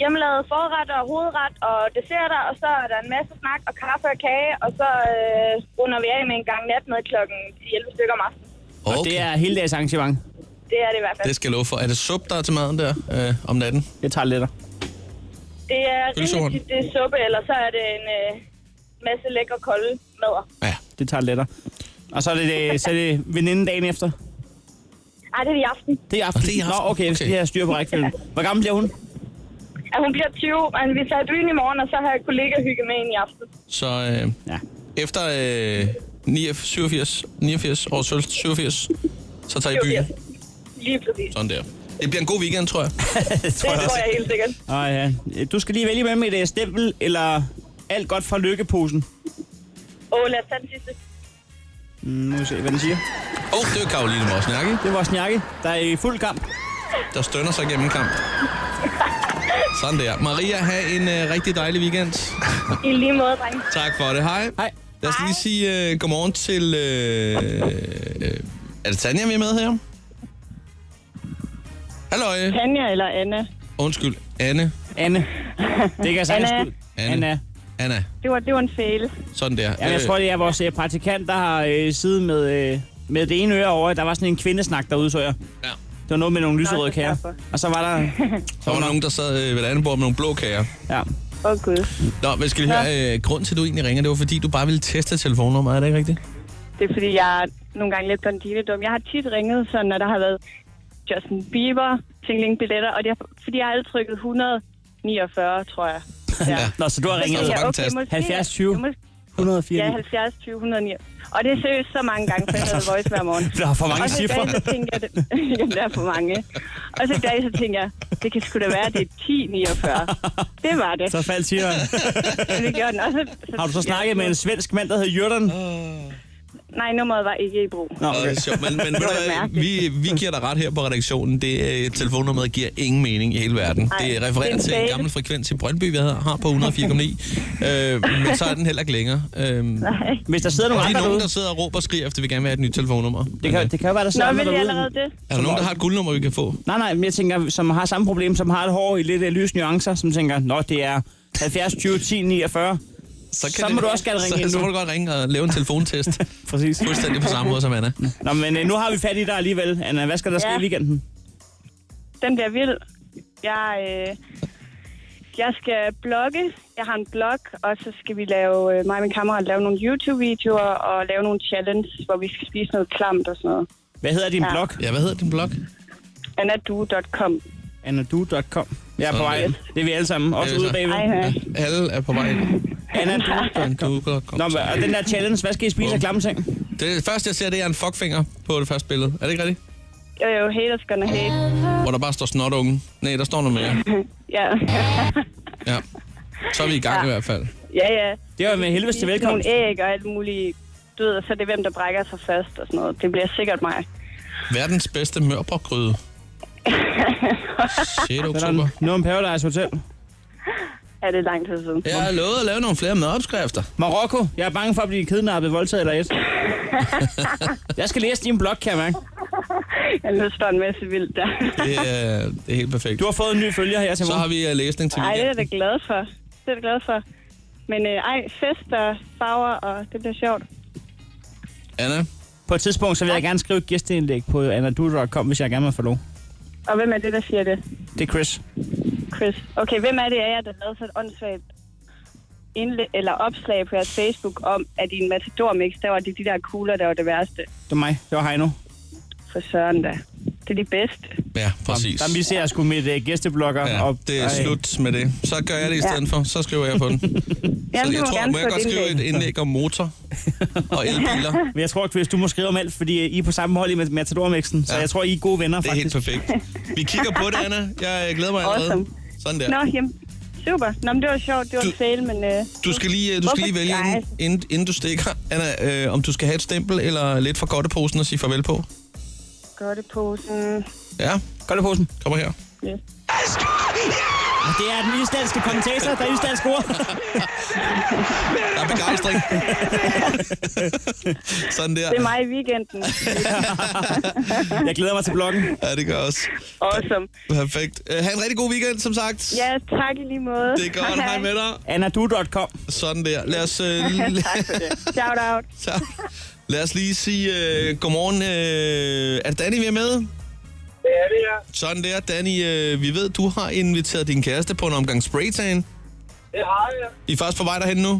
S14: hjemmelavede forretter, og hovedret og desserter, og så er der en masse snak og kaffe og kage, og så øh, runder vi af med en gang natmad kl. 11 stykker om aftenen.
S2: Okay.
S6: Og det er hele dags arrangement.
S14: Det er det i hvert fald.
S2: Det skal jeg love for. Er det sup, der er til maden der øh, om natten?
S6: Jeg tager letter.
S14: Det er
S2: Pølsehorn.
S14: rimelig tit, det er suppe, eller så er det en øh, masse lækker kolde mader.
S6: Det tager letter. Og så er det, øh, så er det veninden dagen efter?
S14: Ej, det er i aften.
S6: Det er i aften.
S14: det er i aften.
S6: Nå, okay, jeg skal lige have styr på rækkefølgen. Hvor gammel bliver hun?
S14: At hun bliver 20, men vi tager i byen i morgen, og så har jeg kollega hygge med hende i aften.
S2: Så øh,
S6: ja. efter
S2: øh, 89, 87, 89 års fødselsdag, 87, så tager I byen.
S14: Lige præcis.
S2: Sådan der. Det bliver en god weekend, tror jeg.
S6: det
S14: tror jeg, tror jeg helt sikkert.
S6: Åh, ja. Du skal lige vælge mellem et øh, stempel eller alt godt fra lykkeposen.
S14: Åh, lad os tage den sidste.
S6: Mm, nu må vi se, hvad den siger.
S2: Åh, oh, det var Karoline Morsnakke.
S6: Det er vores snakke, der er i fuld kamp.
S2: Der stønner sig gennem kamp. Sådan der. Maria, have en øh, rigtig dejlig weekend.
S14: I lige måde, drenge.
S2: Tak for det. Hej.
S6: Hej.
S2: Lad os lige sige øh, godmorgen til... Øh, øh, er det Tanja, vi er med her? Hallo.
S15: Tanja eller Anna.
S2: Undskyld, Anne.
S6: Anne. Det kan jeg sagtens
S15: Anna.
S6: skyde. Anna.
S2: Anna.
S15: Det var, det var en fejl.
S2: Sådan der.
S6: Ja, jeg tror, det er vores øh, praktikant, der har øh, siddet med, øh, med det ene øre over. Der var sådan en kvindesnak derude, så jeg.
S2: Ja.
S6: Det var noget med nogle lyserøde kager. Og så var der...
S2: Så var der nogen, der sad øh, ved et andet bord med nogle blå kager.
S6: Ja.
S14: Åh, oh, Gud.
S2: Nå, men skal vi høre, øh, grunden til, at du egentlig ringer, det var fordi, du bare ville teste telefonnummeret, er det ikke rigtigt?
S14: Det er fordi, jeg er nogle gange lidt banditedum. Jeg har tit ringet, så når der har været Justin Bieber, tingling billetter, og det er fordi, jeg har altid trykket 149, tror jeg.
S6: Ja. Nå, så du har
S14: Så
S6: ringet
S14: tænker jeg, okay, måske-
S6: 70 20
S14: måske-
S6: 104.
S14: Ja, 70, 20, 109. Og det er seriøst så mange gange, for jeg havde voice hver morgen.
S6: Der er for mange
S14: og så i dag,
S6: cifre.
S14: så tænkte jeg, det- Jamen, der er for mange. Og så i dag, så tænkte jeg, det kan sgu da være, det er 10, 49. Det var det.
S6: Så faldt tigeren.
S14: Men det gjorde den også. Så,
S6: Har du så snakket med en svensk mand, der hed Jørgen?
S14: Nej, nummeret var ikke i brug.
S6: Nå,
S2: Nå, det er sjovt, men, men ved
S14: Det
S2: du
S14: var
S2: hvad,
S14: mærkeligt.
S2: vi, vi giver dig ret her på redaktionen. Det øh, telefonnummer giver ingen mening i hele verden.
S14: Nej,
S2: det
S14: det
S2: refererer
S14: er en
S2: til en
S14: fail.
S2: gammel frekvens i Brøndby, vi havde- har på 104,9. øh, men så er den heller ikke længere. Øh,
S6: Hvis der sidder nogle andre
S2: og det er nogen,
S6: derude-
S2: der sidder og råber og skriger, efter vi gerne vil have et nyt telefonnummer. Det
S6: kan, det kan jo være, der
S14: Nå,
S6: sidder andre
S14: vil I
S6: derude.
S14: allerede det?
S2: Er der nogen, der har et guldnummer, vi kan få?
S6: Nej, nej, men jeg tænker, som har samme problem, som har et hår i lidt øh, lys nuancer, som tænker, nå, det er 70, 20, 10, 49. Så, så må
S2: det-
S6: du også gerne ringe
S2: så,
S6: ind
S2: så må
S6: nu.
S2: du godt ringe og lave en telefontest.
S6: Præcis.
S2: Fuldstændig på samme måde som Anna.
S6: Nå, men øh, nu har vi fat i dig alligevel. Anna, hvad skal der ske
S14: Ja.
S6: i weekenden?
S14: Den bliver vild. Jeg, øh, jeg skal blogge. Jeg har en blog, og så skal vi lave, øh, mig og min kammerat, lave nogle YouTube-videoer og lave nogle challenge, hvor vi skal spise noget klamt og sådan noget.
S6: Hvad hedder din
S14: Ja.
S6: blog?
S2: Ja, hvad hedder din blog?
S14: Annadu.com.
S6: Annadu.com. Jeg er på
S2: Sådan
S6: vej.
S2: lidt.
S6: Det er vi alle sammen. Også
S2: Det er vi
S6: ude bagved.
S2: så.
S14: Hej, hej.
S2: Alle er på vej ind. Annadu.com.
S6: Nå, men- og den der challenge, hvad skal I spise af klamme ting?
S2: Det første, jeg ser, det er en fuckfinger på det første billede. Er det ikke rigtigt?
S14: Jo, jo, haters gonna hate.
S2: Hvor der bare står snotunge. Nej, der står noget mere.
S14: Ja,
S2: Ja. Så er vi i gang ja. i hvert fald.
S14: ja, ja.
S6: Det var med helvede til
S14: Spise
S6: velkomst.
S14: Nogle æg og alt muligt død, og så er det hvem, der brækker sig først og sådan noget. Det bliver sikkert mig.
S2: Verdens bedste mørbrødgryde. 6. oktober.
S6: Noget om Paradise Hotel.
S14: Er det lang tid siden?
S2: Jeg har lovet at lave nogle flere madopskrifter.
S6: Marokko. Jeg er bange for at blive kidnappet, voldtaget eller et. jeg skal læse din blog, kan jeg mærke.
S14: Jeg nu står en masse vildt der.
S2: Det er, det er helt perfekt.
S6: Du har fået en ny følger her til
S2: Så har
S6: morgen.
S2: vi øh, læsning til
S14: Ej, det er jeg
S2: weekenden.
S14: da glad for. Det er jeg da glad for. Men øh, ej, fest og farver, og det bliver sjovt.
S2: Anna,
S6: På et tidspunkt, så vil jeg gerne skrive et gæsteindlæg på anadu.com, hvis jeg gerne vil få lov.
S14: Og hvem er det, der siger det?
S6: Det er Chris.
S14: Chris. Okay, hvem er det af jer, der lavede så et åndssvagt indlæg, eller opslag på jeres Facebook om, at i en matadormix, der var det de der kugler, der var det værste
S6: Det er mig. Det var Heino.
S14: for Søren da. Det er de bedste.
S2: ja, præcis.
S6: Der vi ser sgu mit uh, gæsteblogger
S2: Ja,
S6: op.
S2: det er
S6: Ej.
S2: slut med det. Så gør jeg det i stedet for. Så skriver jeg på den. Så
S14: du
S2: jeg
S14: må
S2: tror,
S14: gerne
S2: må jeg
S14: få
S2: godt
S14: et
S2: skrive et
S14: indlæg.
S2: indlæg om motor og elbiler.
S6: Men jeg tror, Chris, du må skrive om alt, fordi øh, I er på samme hold i Mat- Matadormixen, så
S2: Ja.
S6: jeg tror, I er gode venner,
S2: Det er helt
S6: faktisk.
S2: perfekt. Vi kigger på det, Anna. Jeg øh, glæder mig allerede.
S14: Awesome.
S2: Sådan
S14: Nå,
S2: der.
S14: jamen, super. Nå, men det var sjovt. Det var en fail, men... Øh,
S2: Du skal lige, øh, du skal
S14: Hvorfor
S2: lige vælge,
S14: dig?
S2: inden, inden, inden du stikker, Anna, øh, om du skal have et stempel eller lidt fra godteposen at sige farvel på.
S14: Godteposen.
S2: Ja,
S6: Godt i posen.
S2: kommer her.
S14: Yes.
S6: Og Det er den islandske kommentator, der er islandsk ord.
S2: Der er begejstring. Sådan der.
S14: Det er mig i weekenden.
S6: Jeg glæder mig til bloggen.
S2: Ja, det gør jeg også.
S14: awesome.
S2: Perfekt. Øh, Ha' en rigtig god weekend, som sagt.
S14: Ja, tak i lige måde.
S2: Det er godt. Hej med dig.
S6: Anadu.com.
S2: Sådan der. Lad os, øh,
S14: tak for det. Shout out.
S2: tak. Lad os lige sige øh, godmorgen. Øh, er det Danny, vi er med?
S9: Det er det, ja.
S2: Sådan der, Danny. Øh, vi ved, du har inviteret din kæreste på en omgang spraytan.
S9: Det har jeg.
S2: I er faktisk på vej derhen nu.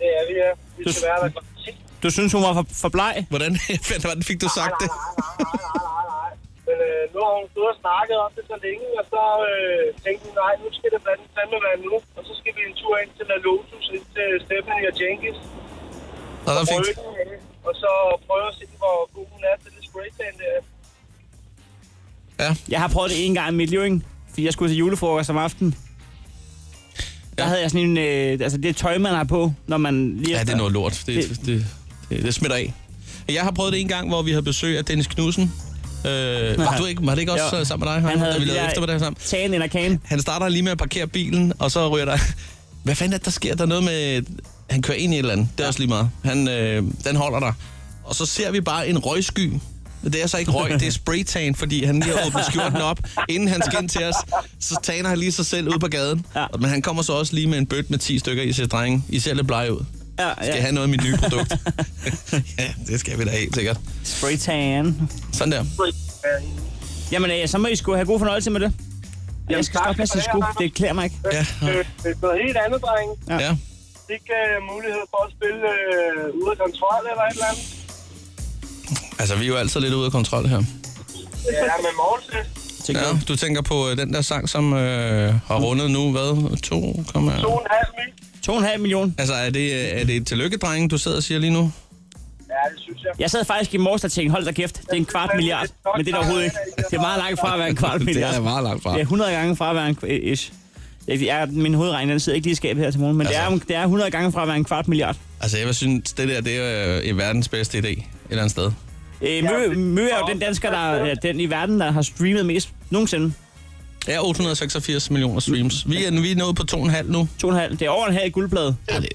S9: Det er vi, ja. Vi skal være der klokken 10.
S6: Du synes, hun var for, for bleg?
S2: Hvordan hvordan fik du sagt det?
S9: Men øh, nu har hun stået og snakket om det så længe, og så øh, tænkte hun, nej, nu skal det blandt fandme være nu. Og så skal vi en tur ind til La Lotus, ind til Stephanie og Jenkins.
S2: Nå, der
S9: Prøve
S2: fik...
S9: den af, Og så prøve at se, hvor god hun er til det spraytan der.
S6: Jeg har prøvet det en gang i mit liv, ikke? Fordi jeg skulle til julefrokost om aftenen. Der havde jeg sådan en... Øh, altså, det tøj, man har på, når man lige...
S2: Ja, det er noget lort. Det,
S6: Det-
S2: det, det, det, det smitter af. Jeg har prøvet det en gang, hvor vi havde besøg af Dennis Knudsen. Øh, var, du ikke, var det ikke også
S6: Jo.
S2: jo. sammen med dig?
S6: Han havde
S2: da vi
S6: de
S2: lavede
S6: der-
S2: eftermiddag sammen.
S6: Tagen eller kagen.
S2: Han starter lige med at parkere bilen, og så ryger der... Hvad fanden er det, der sker? Der er noget med... Han kører ind i et eller andet. Det er også lige meget. Han, øh, den holder der. Og så ser vi bare en røgsky. Det er så ikke røg, det er spraytan, fordi han lige har åbnet skjorten op, inden han skal ind til os. Så taner han lige sig selv ud på gaden.
S6: Ja.
S2: Men han kommer så også lige med en bødt med 10 stykker i sig, drenge. I ser lidt blege ud.
S6: Ja,
S2: Skal jeg
S6: ja.
S2: have noget af mit nye produkt? ja, det skal vi da helt sikkert.
S6: Spraytan.
S2: Sådan der.
S6: Jamen, øh, så må I skulle have god fornøjelse med det. Jamen, jeg skal
S9: tak
S6: starte med at
S9: for
S6: sige
S9: det,
S6: sgu.
S9: Anders.
S6: Det klæder mig ikke. Ja.
S9: Øh, Det er noget helt andet, drenge.
S2: Ja.
S9: Ikke uh, mulighed for at spille uh, ude af kontrol eller et eller andet.
S2: Altså, vi er jo altid lidt ude af kontrol her.
S9: Ja, med Morse.
S2: Ja, du tænker på øh, den der sang, som øh, har rundet nu, hvad? 2,
S9: 2,5 mil.
S6: 2,5 millioner.
S2: Altså, er det, øh, er det et tillykke, drenge, du sidder og siger lige nu?
S9: Ja, det synes jeg.
S6: Jeg sad faktisk i morges og tænkte, hold da kæft, det er en kvart milliard, men det er der overhovedet ikke. Det er meget langt fra at være en kvart
S2: Det er
S6: milliard.
S2: da meget langt fra.
S6: Det er 100 gange fra at være en kv- øh, ish. Jeg, jeg, min hovedregning den sidder ikke lige i skabet her til morgen, men altså. det, er, det er 100 gange fra at være en kvart milliard.
S2: Altså, jeg synes, det der, det er øh, verdens bedste idé et eller andet sted.
S6: Øh, Mø, Mø er jo den dansker, der er den i verden, der har streamet mest nogensinde.
S2: Ja, 886 millioner streams. Vi er, vi er nået på 2,5 nu.
S6: 2,5. Det er over en halv guldplade.
S2: Ja, det,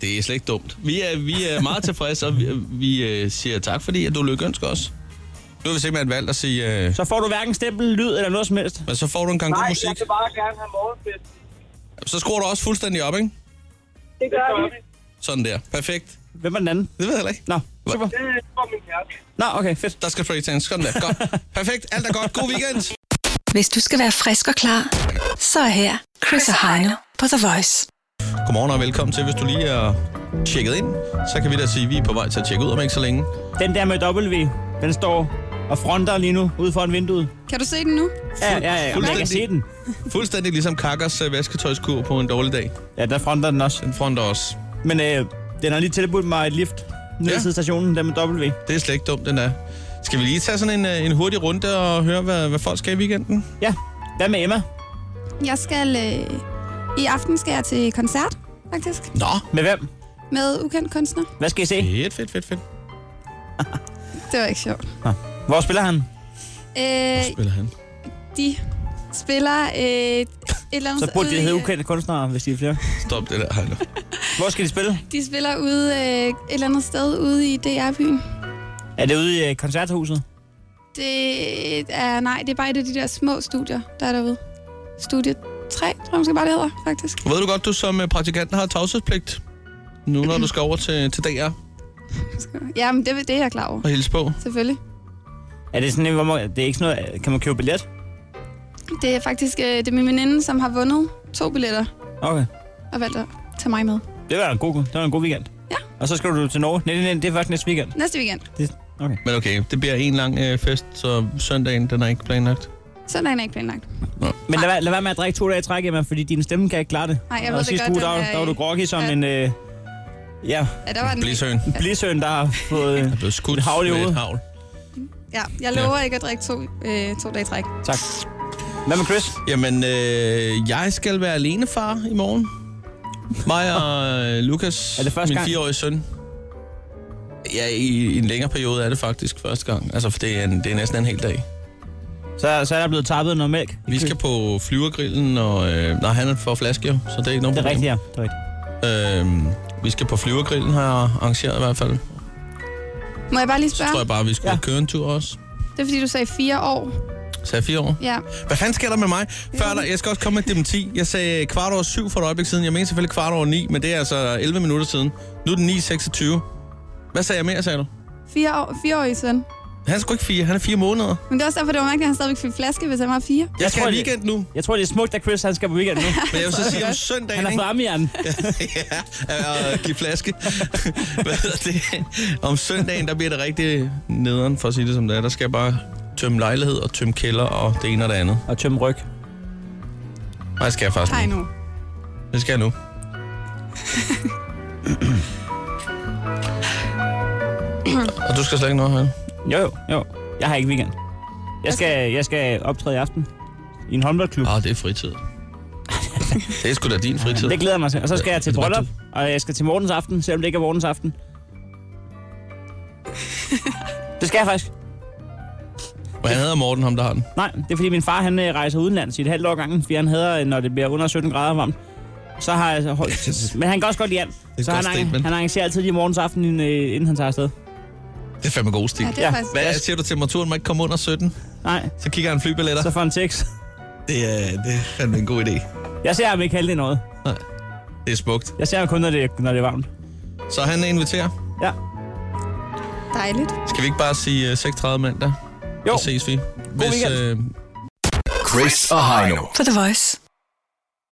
S2: det er slet ikke dumt. Vi er, vi er meget tilfredse, og vi, vi øh, siger tak, fordi at du lykønsker os. Nu har vi simpelthen valgt at sige... Øh,
S6: Så får du hverken stempel, lyd eller noget som helst.
S2: men så får du en gang
S9: Nej,
S2: god
S9: jeg
S2: musik.
S9: vil bare gerne have morgenfest.
S2: Så skruer du også fuldstændig op, ikke?
S9: Det gør vi.
S2: Sådan der. Perfekt.
S6: Hvem var den anden?
S2: Det ved jeg heller ikke.
S6: Nå,
S2: super.
S9: Det er for min kæreste.
S6: Nå, okay, fedt.
S2: Der skal freetagen. Sådan der. Godt. Perfekt. Alt er godt. God weekend.
S4: Hvis du skal være frisk og klar, så er her Chris og Heino på The Voice.
S2: Godmorgen og velkommen til. Hvis du lige er tjekket ind, så kan vi da sige, at vi er på vej til at tjekke ud om ikke så længe.
S6: Den der med W, den står og fronter lige nu ude foran vinduet.
S5: Kan du se den nu?
S6: Ja, ja, ja. Man kan se den.
S2: Fuldstændig ligesom Kakkers øh, vasketøjskur på en dårlig dag.
S6: Ja, der fronter den også.
S2: Den fronter også.
S6: Men øh, den har lige tilbudt mig et lift ned ja. til stationen, der med W.
S2: Det er slet ikke dumt, den er. Skal vi lige tage sådan en, øh, en hurtig runde og høre, hvad, hvad folk skal i weekenden?
S6: Ja. Hvad med Emma?
S5: Jeg skal... Øh, I aften skal jeg til koncert, faktisk.
S2: Nå.
S6: Med hvem?
S5: Med ukendt kunstner.
S6: Hvad skal I se?
S2: Fedt, fedt, fedt, fedt.
S5: Det var ikke sjovt.
S6: Hvor spiller han?
S5: Øh,
S2: Spiller han.
S5: de spiller øh, et eller andet
S6: Så burde
S5: ude
S6: de
S5: i-
S6: hedde ukendte kunstnere, hvis de er flere.
S2: Stop det der, Heino.
S6: Hvor skal de spille?
S5: De spiller ude øh, et eller andet sted ude i DR-byen.
S6: Er det ude i øh, koncerthuset?
S5: Det er, nej, det er bare et af de der små studier, der er derude. Studie 3, tror jeg måske bare det hedder, faktisk.
S2: Ved du godt, du som øh, praktikant har tavshedspligt? Nu når du skal over til, til DR
S5: Ja, men det, det er jeg klar over,
S2: og hilse på.
S5: selvfølgelig.
S6: Er det sådan en, hvor man, det er ikke sådan noget, øh, kan man købe billet?
S5: Det er faktisk øh, det er min veninde, som har vundet to billetter
S6: Okay.
S5: og valgt at tage mig med.
S6: Det var en god, det var en god weekend.
S5: Ja.
S6: Og så skal du til Norge. Nej, nej, nej, det er først næste weekend.
S5: Næste weekend.
S6: Det, okay.
S2: Men okay, det bliver en lang øh, fest, så søndagen den er ikke planlagt.
S5: Søndagen er ikke planlagt.
S6: Men lad, være- lad være med at drikke to dage i træk, Emma, fordi din stemme kan ikke klare det.
S5: Nej, jeg ved
S6: og
S5: det
S6: sidste
S5: godt,
S6: uge,
S5: den
S6: der, var-
S5: er-
S6: der var du groggy som
S5: Ja.
S6: en... Øh, ja,
S5: Ja, der var den.
S2: Blisøen.
S6: en blisøn, der har fået øh,
S2: blevet skudt
S6: et havl i
S2: med et
S6: hovedet.
S2: havl.
S5: Ja, jeg lover ikke at drikke to, øh, to dage i træk.
S6: Tak. Hvad med Chris?
S2: Jamen, øh, jeg skal være alenefar i morgen. Mig og øh, Lukas,
S6: Er det første
S2: min
S6: gang?
S2: fireårige søn. Ja, i, i en længere periode er det faktisk første gang. Altså, for det er, en, det er næsten en hel dag.
S6: Så, så er der blevet tappet noget mælk.
S2: Vi skal på flyvergrillen, og øh, nej, han får flaske jo, så det er ikke nogen
S6: Det er rigtigt,
S2: problem.
S6: ja. Det er rigtigt.
S2: Rigtigt, øh, vi skal på flyvergrillen, har jeg arrangeret i hvert fald.
S5: Må jeg bare lige
S2: Så tror
S5: spørge?
S2: jeg bare, vi skulle ja. køre en tur også.
S5: Det er fordi, du sagde fire år.
S2: Så er jeg fire år.
S5: Ja.
S2: Hvad fanden sker der med mig? Før der, jeg skal også komme med et dementi. Jeg sagde kvart over syv for et øjeblik siden. Jeg mener selvfølgelig kvart over ni, men det er altså 11 minutter siden. Nu er den 9.26. Hvad sagde jeg mere, sagde du?
S5: Fire år, fireårig søn.
S2: Han er sgu ikke fire. Han er fire måneder.
S5: Men det er også derfor, det var mærkeligt, at han stadigvæk fik flaske, hvis han var fire.
S2: Jeg, jeg skal
S6: tror,
S2: i
S6: det-
S2: weekend nu.
S6: Jeg tror, det er smukt, at Chris han skal på weekend nu.
S2: Men jeg vil så sige om
S6: Han
S2: søndagen,
S6: har
S2: ikke?
S6: fået armjern.
S2: ja, at give flaske. Hvad hedder det? Om søndagen, der bliver det rigtig nederen, for at sige det som det er. Der skal jeg bare tømme lejlighed og tømme kælder og det ene og det andet.
S6: Og tømme ryg.
S2: Nej, det skal jeg faktisk
S5: Hej
S2: ikke.
S5: nu.
S2: Det skal jeg nu. og du skal slet ikke noget her.
S6: Jo, jo, jo. Jeg har ikke weekend. Jeg skal, jeg skal optræde i aften i en håndboldklub.
S2: Ah, det er fritid. Det er sgu da din fritid.
S6: Det glæder jeg mig til. Og så skal jeg til
S2: Det er bare
S6: bryllup, og jeg skal til morgens aften, selvom det ikke er morgens aften. Det skal jeg faktisk.
S2: Hvad hedder Morten, ham der har den?
S6: Nej, det er fordi min far han øh, rejser udenlands i et halvt år gangen, fordi han hader, øh, når det bliver under 17 grader varmt. Så har jeg, så- men han kan også godt lide alt.
S2: et
S6: Så
S2: godt
S6: han, arrangerer,
S2: statement.
S6: han arrangerer altid lige morgens aften, inden, øh, inden han tager afsted.
S2: Det er fandme god stil.
S5: Ja, det er
S6: Ja.
S5: faktisk...
S2: Hvad siger du, temperaturen må ikke komme under 17?
S6: Nej,
S2: Så kigger han flybilletter.
S6: så får han tekst.
S2: Det er, det er fandme en god idé.
S6: Jeg ser ham ikke halvdelen noget.
S2: Det er smukt.
S6: Jeg ser ham kun, når det, når det er varmt.
S2: Så han inviterer.
S6: Ja.
S5: Dejligt.
S2: Skal vi øh, ikke bare sige øh, 36 mandag?
S16: Jo. Så ses vi. Hvis,
S2: Chris og Heino.
S4: For The Voice.